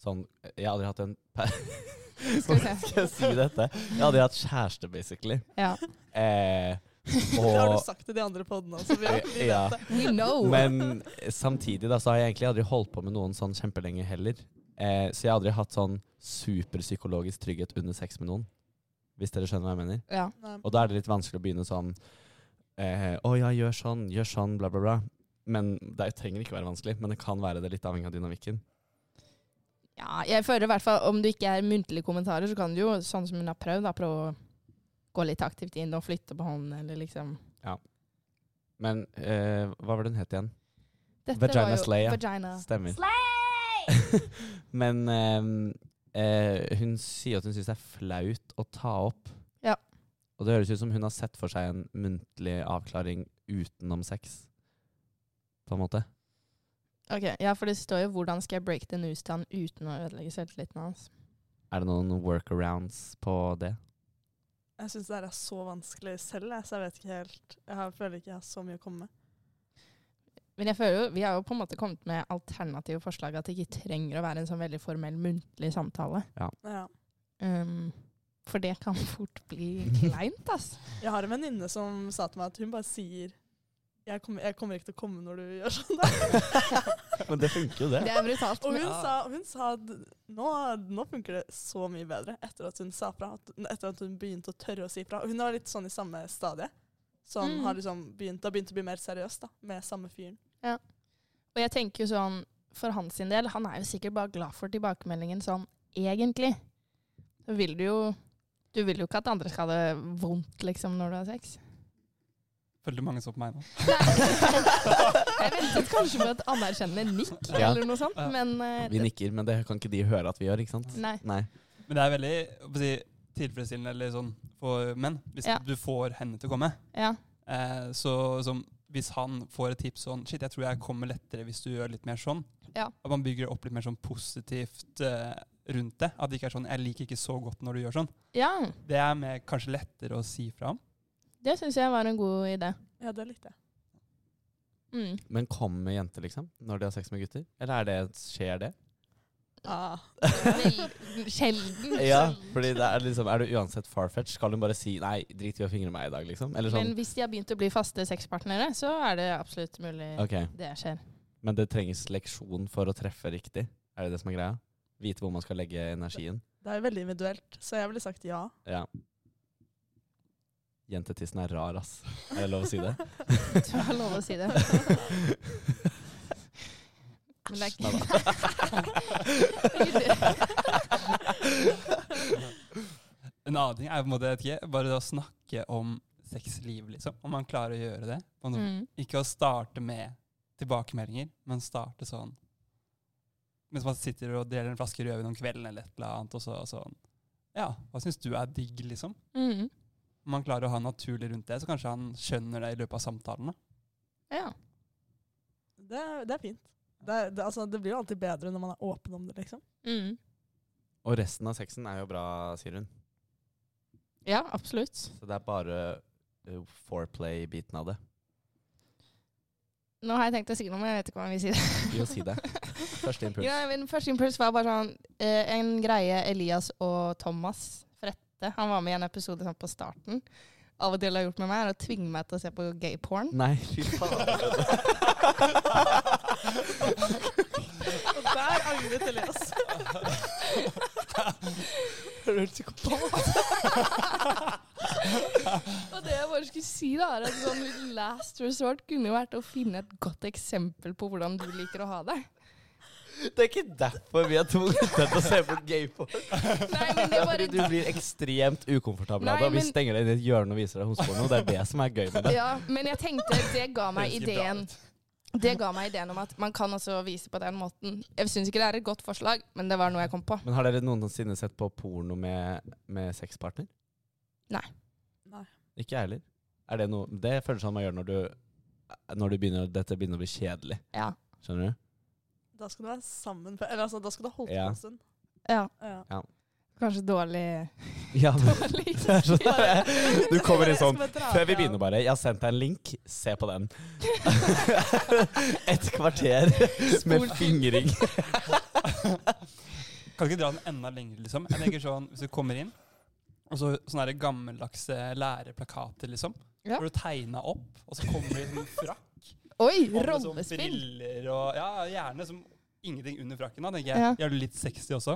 [SPEAKER 3] sånn Jeg har aldri hatt en per
[SPEAKER 2] Skal vi se.
[SPEAKER 3] Skal jeg si dette? Jeg har aldri hatt kjæreste, basically.
[SPEAKER 2] Ja.
[SPEAKER 3] Eh,
[SPEAKER 4] Det har du
[SPEAKER 3] og,
[SPEAKER 4] sagt til de andre podene også. Vi, vi vet
[SPEAKER 3] Ja.
[SPEAKER 4] det.
[SPEAKER 2] We know!
[SPEAKER 3] men samtidig da, så har jeg egentlig aldri holdt på med noen sånn kjempelenge heller. Eh, så jeg har aldri hatt sånn superpsykologisk trygghet under sex med noen. Hvis dere skjønner hva jeg mener.
[SPEAKER 2] ja.
[SPEAKER 4] Nei.
[SPEAKER 3] Og da er det litt vanskelig å begynne sånn eh, Å ja, gjør sånn, gjør sånn, bla, bla, bla. Men det trenger ikke være vanskelig, men det kan være det litt avhengig av dynamikken.
[SPEAKER 2] ja, jeg føler i hvert fall om du ikke er muntlige kommentarer, så kan du jo, sånn som hun har prøvd, da, prøve å gå litt aktivt inn og flytte på hånden, eller liksom
[SPEAKER 3] Men eh, hva var det hun het igjen?
[SPEAKER 2] Dette
[SPEAKER 3] Vagina
[SPEAKER 2] var jo-
[SPEAKER 3] slay, ja.
[SPEAKER 2] Vagina.
[SPEAKER 3] Stemmer. men eh, eh, hun sier at hun syns det er flaut å ta opp.
[SPEAKER 2] Ja.
[SPEAKER 3] Og det høres ut som hun har sett for seg en muntlig avklaring utenom sex, på en måte.
[SPEAKER 2] Ok, Ja, for det står jo 'Hvordan skal jeg break the news til han uten å ødelegge selvtilliten hans'?
[SPEAKER 3] Er det noen workarounds på det?
[SPEAKER 4] Jeg syns det her er så vanskelig selv, jeg, så jeg vet ikke helt Jeg har- føler ikke jeg har så mye å komme med.
[SPEAKER 2] Men jeg føler jo, vi har jo på en måte kommet med alternative forslag, at det ikke trenger å være en sånn veldig formell muntlig samtale.
[SPEAKER 4] Ja.
[SPEAKER 2] Um, for det kan fort bli kleint, ass.
[SPEAKER 4] Jeg har en venninne som sa til meg at hun bare sier jeg kommer, jeg kommer ikke til å komme når du gjør sånn. der."
[SPEAKER 3] Men det funker jo, det.
[SPEAKER 2] Det er brutalt.
[SPEAKER 4] og hun
[SPEAKER 2] Men,
[SPEAKER 4] sa, hun sa at nå, nå funker det så mye bedre etter at hun sa fra. at- Etter at hun begynte å tørre å si fra. Og Hun var litt sånn i samme stadie. Som
[SPEAKER 2] Mm.
[SPEAKER 4] har liksom begynt, har begynt å bli mer seriøs da, med samme fyren.
[SPEAKER 2] og jeg tenker jo sånn, for hans sin del, han er jo sikkert bare glad for tilbakemeldingen sånn, egentlig. Så vil du jo Du vil jo ikke at andre skal ha det vondt, liksom, når du har sex.
[SPEAKER 5] Følte mange så på meg nå.
[SPEAKER 2] jeg ventet kanskje på et anerkjennende nikk
[SPEAKER 3] Ja.
[SPEAKER 2] eller noe sånt,
[SPEAKER 5] Ja.
[SPEAKER 2] men eh,
[SPEAKER 3] Vi nikker, men det kan ikke de høre at vi gjør, ikke sant?
[SPEAKER 2] Nei.
[SPEAKER 3] Nei.
[SPEAKER 5] Men det er veldig hva skal jeg si, tilfredsstillende eller sånn, for menn, hvis
[SPEAKER 2] Ja.
[SPEAKER 5] du får henne til å komme.
[SPEAKER 2] Ja.
[SPEAKER 5] Eh, så som, hvis han får et tips sånn Shit, jeg tror jeg kommer lettere hvis du gjør litt mer sånn.
[SPEAKER 2] Ja.
[SPEAKER 5] At man bygger opp litt mer sånn positivt eh, rundt det. At det ikke er sånn 'Jeg liker ikke så godt når du gjør sånn'.
[SPEAKER 2] ja.
[SPEAKER 5] Det er mer, kanskje lettere å si fra om.
[SPEAKER 2] Det syns jeg var en god idé.
[SPEAKER 4] Ja, det likte jeg.
[SPEAKER 2] Mm.
[SPEAKER 3] Men kommer jenter, liksom? Når de har sex med gutter? Eller er det, skjer det?
[SPEAKER 4] Ah.
[SPEAKER 2] Vel, Sjelden.
[SPEAKER 3] Ja, fordi det er liksom Er du uansett farfetch? Skal hun bare si 'nei, drit i å fingre meg i dag', liksom? Eller
[SPEAKER 2] Men
[SPEAKER 3] sånn.
[SPEAKER 2] hvis de har begynt å bli faste sexpartnere, så er det absolutt mulig
[SPEAKER 3] Ok.
[SPEAKER 2] det skjer.
[SPEAKER 3] Men det trenges leksjon for å treffe riktig? Er det det som er greia? Vite hvor man skal legge energien?
[SPEAKER 4] Det er jo veldig individuelt, så jeg ville sagt ja.
[SPEAKER 3] Ja. Jentetissen er rar, ass. Er det lov å si det?
[SPEAKER 2] Du har lov å si det. Men det er ikke-
[SPEAKER 5] En annen ting er jo på en måte, jeg vet ikke, bare det å snakke om sexliv, liksom. Om man klarer å gjøre det. sånn Om det-
[SPEAKER 2] Mm.
[SPEAKER 5] Ikke å starte med tilbakemeldinger, men starte sånn Mens man sitter og deler en flaske rødvin om kvelden eller et eller annet, og så sånn Ja, hva syns du er digg, liksom?
[SPEAKER 2] Mm.
[SPEAKER 5] Om man klarer å ha naturlig rundt det, så kanskje han skjønner det i løpet av samtalen. da.
[SPEAKER 2] Ja.
[SPEAKER 4] Det, er- det er fint. Det, er- det, altså, det blir jo alltid bedre når man er åpen om det, liksom.
[SPEAKER 2] Mm.
[SPEAKER 3] Og resten av sexen er jo bra, sier hun.
[SPEAKER 2] ja, absolutt.
[SPEAKER 3] Så det er bare eh, foreplay-biten av det.
[SPEAKER 2] Nå har jeg tenkt å si noe, men jeg vet ikke hvordan vi sier det.
[SPEAKER 3] Jo, si det. Første impuls.
[SPEAKER 2] Ja, min første impuls var bare sånn eh, En greie Elias og Thomas Frett Sette. Han var med i en episode sånn på starten. Av og til har gjort med meg, er å tvinge meg til å se på gay porn.
[SPEAKER 3] Nei, fy faen.
[SPEAKER 4] Og der angret Elias.
[SPEAKER 2] Og det jeg bare skulle si, da, er at sånn last resort kunne jo vært å finne et godt eksempel på hvordan du liker å ha det.
[SPEAKER 3] Det er ikke derfor vi har tvunget deg til å se på gay porn.
[SPEAKER 2] Nei, men det er
[SPEAKER 3] Det er fordi
[SPEAKER 2] bare
[SPEAKER 3] du blir ekstremt ukomfortabel
[SPEAKER 2] Nei,
[SPEAKER 3] av det. og Vi
[SPEAKER 2] men-
[SPEAKER 3] stenger deg inn i et hjørne og viser deg homosporno. og Det er det som er gøy med det.
[SPEAKER 2] Ja, men jeg tenkte det ga meg
[SPEAKER 3] Høres ikke bra
[SPEAKER 2] ideen. Det ga meg ideen om at man kan også vise på den måten. Jeg syns ikke det er et godt forslag, men det var noe jeg kom på.
[SPEAKER 3] Men har dere noensinne sett på porno med, med sexpartner?
[SPEAKER 2] Nei.
[SPEAKER 4] Nei.
[SPEAKER 3] Ikke jeg heller. Er det noe Det føles som man gjør når du Når du begynner dette begynner å bli kjedelig.
[SPEAKER 2] Ja.
[SPEAKER 3] Skjønner du?
[SPEAKER 4] Da skal du være sammen på- Eller altså, da skal du ha holdt på
[SPEAKER 3] Ja.
[SPEAKER 4] en stund.
[SPEAKER 2] ja.
[SPEAKER 4] Ja.
[SPEAKER 2] Kanskje dårlig
[SPEAKER 3] Ja, men
[SPEAKER 2] Dårlig.
[SPEAKER 3] det er sånn- Du kommer inn sånn
[SPEAKER 4] Jeg skal bare dra
[SPEAKER 3] Før vi
[SPEAKER 4] fra-
[SPEAKER 3] begynner bare, jeg har sendt deg en link, se på den. Et kvarter med fingring.
[SPEAKER 5] Kan ikke dra den enda lenger, liksom. Jeg tenker sånn, Hvis du kommer inn, og så sånne der gammeldagse læreplakater, liksom.
[SPEAKER 2] Ja.
[SPEAKER 5] Hvor du tegna opp, og så kommer det en frakk.
[SPEAKER 2] Oi,
[SPEAKER 5] og med Sånn
[SPEAKER 2] rollespill!
[SPEAKER 5] briller og Ja, gjerne som ingenting under frakken. da, tenker
[SPEAKER 2] Ja.
[SPEAKER 5] jeg. Gjør du litt sexy også.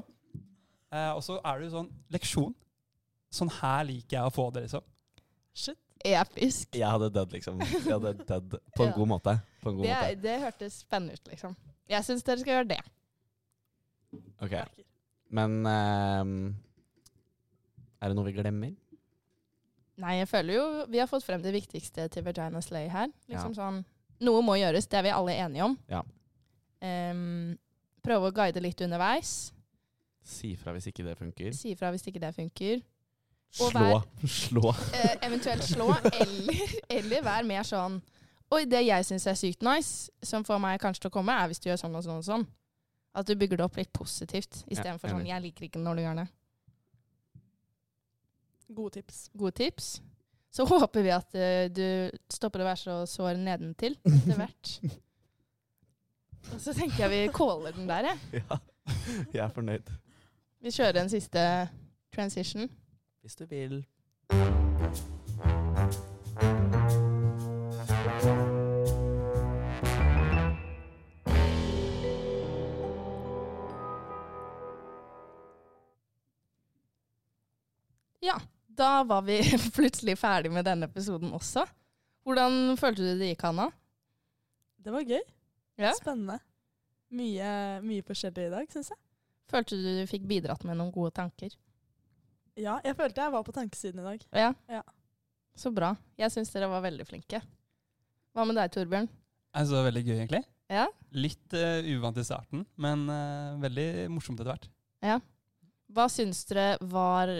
[SPEAKER 5] Eh, og så er det jo sånn Leksjon. Sånn her liker jeg å få det, liksom.
[SPEAKER 4] Shit.
[SPEAKER 2] Episk.
[SPEAKER 3] Jeg hadde dødd, liksom. Jeg hadde dødd på en
[SPEAKER 2] Ja.
[SPEAKER 3] god måte. På en god
[SPEAKER 2] Det,
[SPEAKER 3] måte.
[SPEAKER 2] det hørtes spennende ut, liksom. Jeg syns dere skal gjøre det.
[SPEAKER 3] Ok,
[SPEAKER 4] merker.
[SPEAKER 3] Men ehm, er det noe vi glemmer?
[SPEAKER 2] Nei, jeg føler jo vi har fått frem det viktigste til Vagina Slay her. Liksom sånn, Noe må gjøres, det er vi alle enige om.
[SPEAKER 3] Ja.
[SPEAKER 2] Ehm, prøve å guide litt underveis.
[SPEAKER 3] Si fra hvis ikke det funker.
[SPEAKER 2] Si ifra hvis ikke det funker.
[SPEAKER 3] Slå.
[SPEAKER 2] Og vær-
[SPEAKER 3] Slå.
[SPEAKER 2] Eh, eventuelt slå, eller, eller vær mer sånn Oi, det jeg syns er sykt nice, som får meg kanskje til å komme, er hvis du gjør sånn og sånn og sånn. At du bygger det opp litt positivt,
[SPEAKER 3] Ja,
[SPEAKER 2] istedenfor sånn
[SPEAKER 3] enig.
[SPEAKER 2] 'jeg liker ikke når du gjør det'.
[SPEAKER 4] Gode tips.
[SPEAKER 2] Gode tips. Så håper vi at eh, du stopper å være så sår nedentil etter hvert. Og så tenker jeg vi caller den der, jeg.
[SPEAKER 3] Ja, jeg er fornøyd.
[SPEAKER 2] Vi kjører en siste transition.
[SPEAKER 3] Hvis du vil.
[SPEAKER 2] Da var vi plutselig ferdig med denne episoden også. Hvordan følte du det gikk, Hanna?
[SPEAKER 4] Det var gøy.
[SPEAKER 2] Ja.
[SPEAKER 4] Spennende. Mye, mye forskjellig i dag, syns jeg.
[SPEAKER 2] Følte du du fikk bidratt med noen gode tanker?
[SPEAKER 4] Ja, jeg følte jeg var på tankesiden i dag.
[SPEAKER 2] Ja.
[SPEAKER 4] Ja.
[SPEAKER 2] Så bra. Jeg syns dere var veldig flinke. Hva med deg, Torbjørn?
[SPEAKER 5] Altså, veldig gøy, egentlig.
[SPEAKER 2] Ja?
[SPEAKER 5] Litt eh, uvant i starten, men eh, veldig morsomt etter hvert.
[SPEAKER 2] Hva syns dere var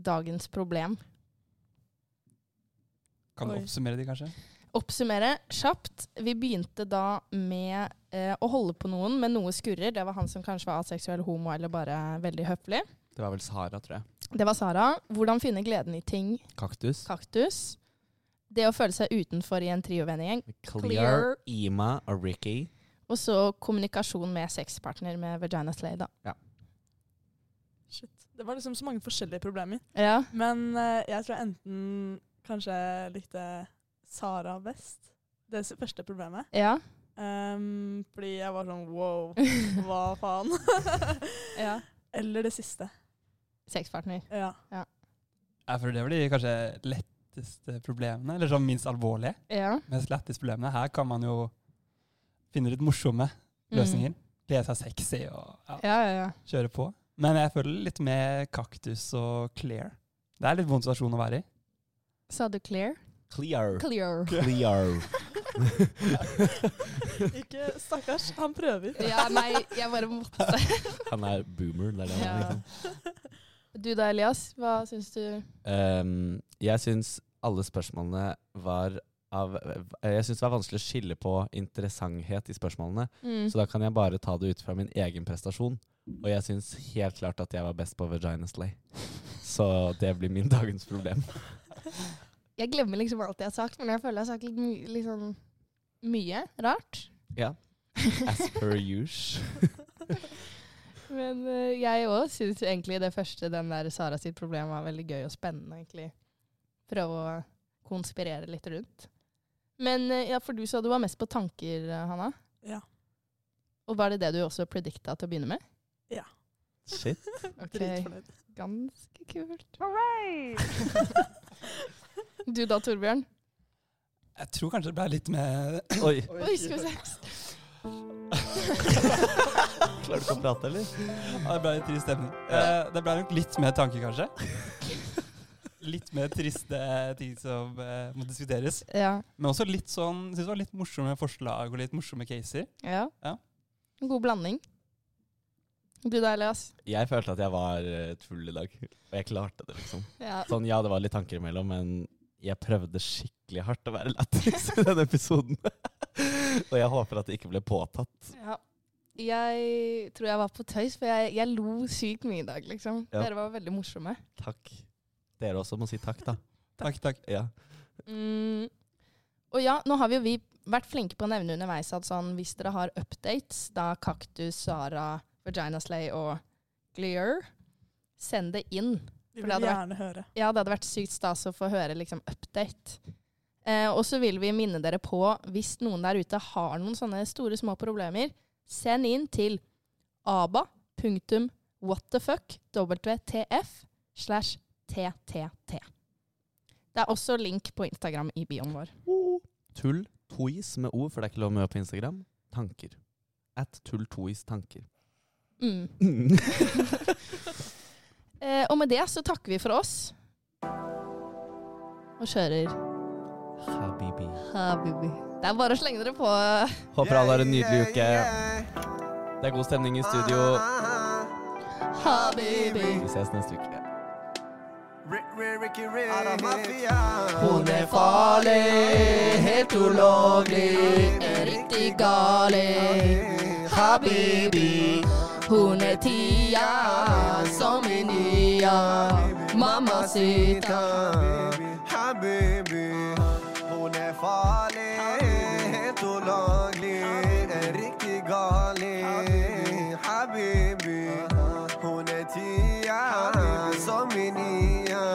[SPEAKER 2] dagens problem?
[SPEAKER 5] Kan du
[SPEAKER 4] Oi.
[SPEAKER 5] oppsummere de, kanskje?
[SPEAKER 2] Oppsummere kjapt. Vi begynte da med eh, å holde på noen med noe skurrer. Det var han som kanskje var aseksuell, homo eller bare veldig høflig.
[SPEAKER 3] Det var vel Sara, tror jeg.
[SPEAKER 2] Det var Sara. Hvordan finne gleden i ting.
[SPEAKER 3] Kaktus.
[SPEAKER 2] Kaktus. Det å føle seg utenfor i en triovennegjeng.
[SPEAKER 3] Clear,
[SPEAKER 2] Clear.
[SPEAKER 3] Ima og Ricky.
[SPEAKER 2] Og så kommunikasjon med sexpartner med Vagina Slay, da.
[SPEAKER 4] Shit. Det var liksom så mange forskjellige problemer.
[SPEAKER 2] Ja.
[SPEAKER 4] Men eh, jeg tror jeg enten kanskje likte Sara best. Det s- første problemet.
[SPEAKER 2] Ja.
[SPEAKER 4] Ehm, fordi jeg var sånn wow, hva faen?
[SPEAKER 2] ja.
[SPEAKER 4] Eller det siste.
[SPEAKER 2] Sexpartner.
[SPEAKER 4] Ja.
[SPEAKER 5] Jeg føler det var de kanskje letteste problemene, eller sånn minst alvorlige.
[SPEAKER 2] Ja.
[SPEAKER 5] Mest letteste problemene. Her kan man jo finne litt morsomme
[SPEAKER 2] Mm.
[SPEAKER 5] løsninger. Kle seg sexy og ja,
[SPEAKER 2] Ja, ja, ja.
[SPEAKER 5] kjøre på. Men jeg føler litt med kaktus og clear. Det er litt vond situasjon å være i.
[SPEAKER 2] Sa du clear?
[SPEAKER 3] Clear.
[SPEAKER 2] Clear.
[SPEAKER 3] Clear.
[SPEAKER 4] Ikke Stakkars, han prøver.
[SPEAKER 2] Ja, nei, jeg bare måtte.
[SPEAKER 3] Han er boomer. Det er det han er.
[SPEAKER 2] Ja.
[SPEAKER 3] liksom.
[SPEAKER 2] Du da, Elias? Hva syns du?
[SPEAKER 3] Ehm, jeg syns alle spørsmålene var av Jeg syns det var vanskelig å skille på interessanthet i spørsmålene,
[SPEAKER 2] Mm.
[SPEAKER 3] så da kan jeg bare ta det ut fra min egen prestasjon. Og jeg syns helt klart at jeg var best på Vagina Slay. Så det blir min dagens problem.
[SPEAKER 2] Jeg glemmer liksom alt jeg har sagt, men jeg føler jeg har sagt litt, my litt sånn mye rart.
[SPEAKER 3] Ja. As per usual.
[SPEAKER 2] Men eh, jeg òg syns egentlig det første, den der Sara sitt problem, var veldig gøy og spennende, egentlig. Prøve å konspirere litt rundt. Men eh, ja, for du sa du var mest på tanker, eh, Hanna.
[SPEAKER 4] Ja.
[SPEAKER 2] Og var det det du også predikta til å begynne med?
[SPEAKER 3] Shit.
[SPEAKER 2] Ok.
[SPEAKER 4] Dritfornøyd.
[SPEAKER 2] Ganske kult. Du da, Torbjørn?
[SPEAKER 5] Jeg tror kanskje det ble litt mer
[SPEAKER 3] Oi.
[SPEAKER 2] Oi, skal vi se.
[SPEAKER 3] Klarer du ikke å prate, eller?
[SPEAKER 5] Ja, Det ble litt trist stemning. Eh, Det ble nok litt mer tanke, kanskje. Litt mer triste ting som eh, må diskuteres.
[SPEAKER 2] Ja.
[SPEAKER 5] Men også litt sånn, synes det var litt morsomme forslag og litt morsomme caser.
[SPEAKER 2] ja.
[SPEAKER 5] Ja.
[SPEAKER 2] En god blanding. Du da, Elias?
[SPEAKER 3] Jeg følte at jeg var eh, full i dag, og jeg klarte det, liksom.
[SPEAKER 2] Ja.
[SPEAKER 3] Sånn, ja, det var litt tanker imellom, men jeg prøvde skikkelig hardt å være lættis i denne episoden. og jeg håper at det ikke ble påtatt.
[SPEAKER 2] Ja. Jeg tror jeg var på tøys, for jeg, jeg lo sykt mye i dag, liksom.
[SPEAKER 3] Ja.
[SPEAKER 2] Dere var veldig morsomme.
[SPEAKER 3] Takk. Dere også må si takk, da.
[SPEAKER 5] Takk, takk.
[SPEAKER 3] Ja.
[SPEAKER 2] Mm. Og ja, nå har vi jo vi vært flinke på å nevne underveis at sånn, hvis dere har updates, da Kaktus, Sara, Vagina Slay og Glear, send det inn.
[SPEAKER 4] Vi
[SPEAKER 2] For
[SPEAKER 4] vil
[SPEAKER 2] det hadde vært-
[SPEAKER 4] gjerne høre.
[SPEAKER 2] Ja, det hadde vært sykt stas å få høre liksom, update. Eh, og så vil vi minne dere på, hvis noen der ute har noen sånne store, små problemer, send inn til aba.whatthefuck.wtf slash ttt. Det er også link på Instagram i bioen vår.
[SPEAKER 3] Tull tois med O, for det er ikke lov med Ø på Instagram. Tanker. At tull tois tanker.
[SPEAKER 2] Mm. Eh, og med det så takker vi for oss. Og kjører
[SPEAKER 3] Habibi.
[SPEAKER 2] Habibi. Det er bare å slenge dere på.
[SPEAKER 3] Håper alle har en nydelig uke. Det er god stemning i studio.
[SPEAKER 2] Habibi.
[SPEAKER 3] Vi ses neste uke.
[SPEAKER 2] Hun er farlig, helt ulovlig, er riktig galig. Habibi, hun er tia, som i nia. Mamma sita,
[SPEAKER 7] Habibi, hun er farlig, helt ulaglig, er riktig galig. Habibi, hun er tia, som min nia.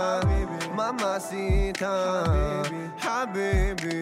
[SPEAKER 7] Mamma sita, habibi.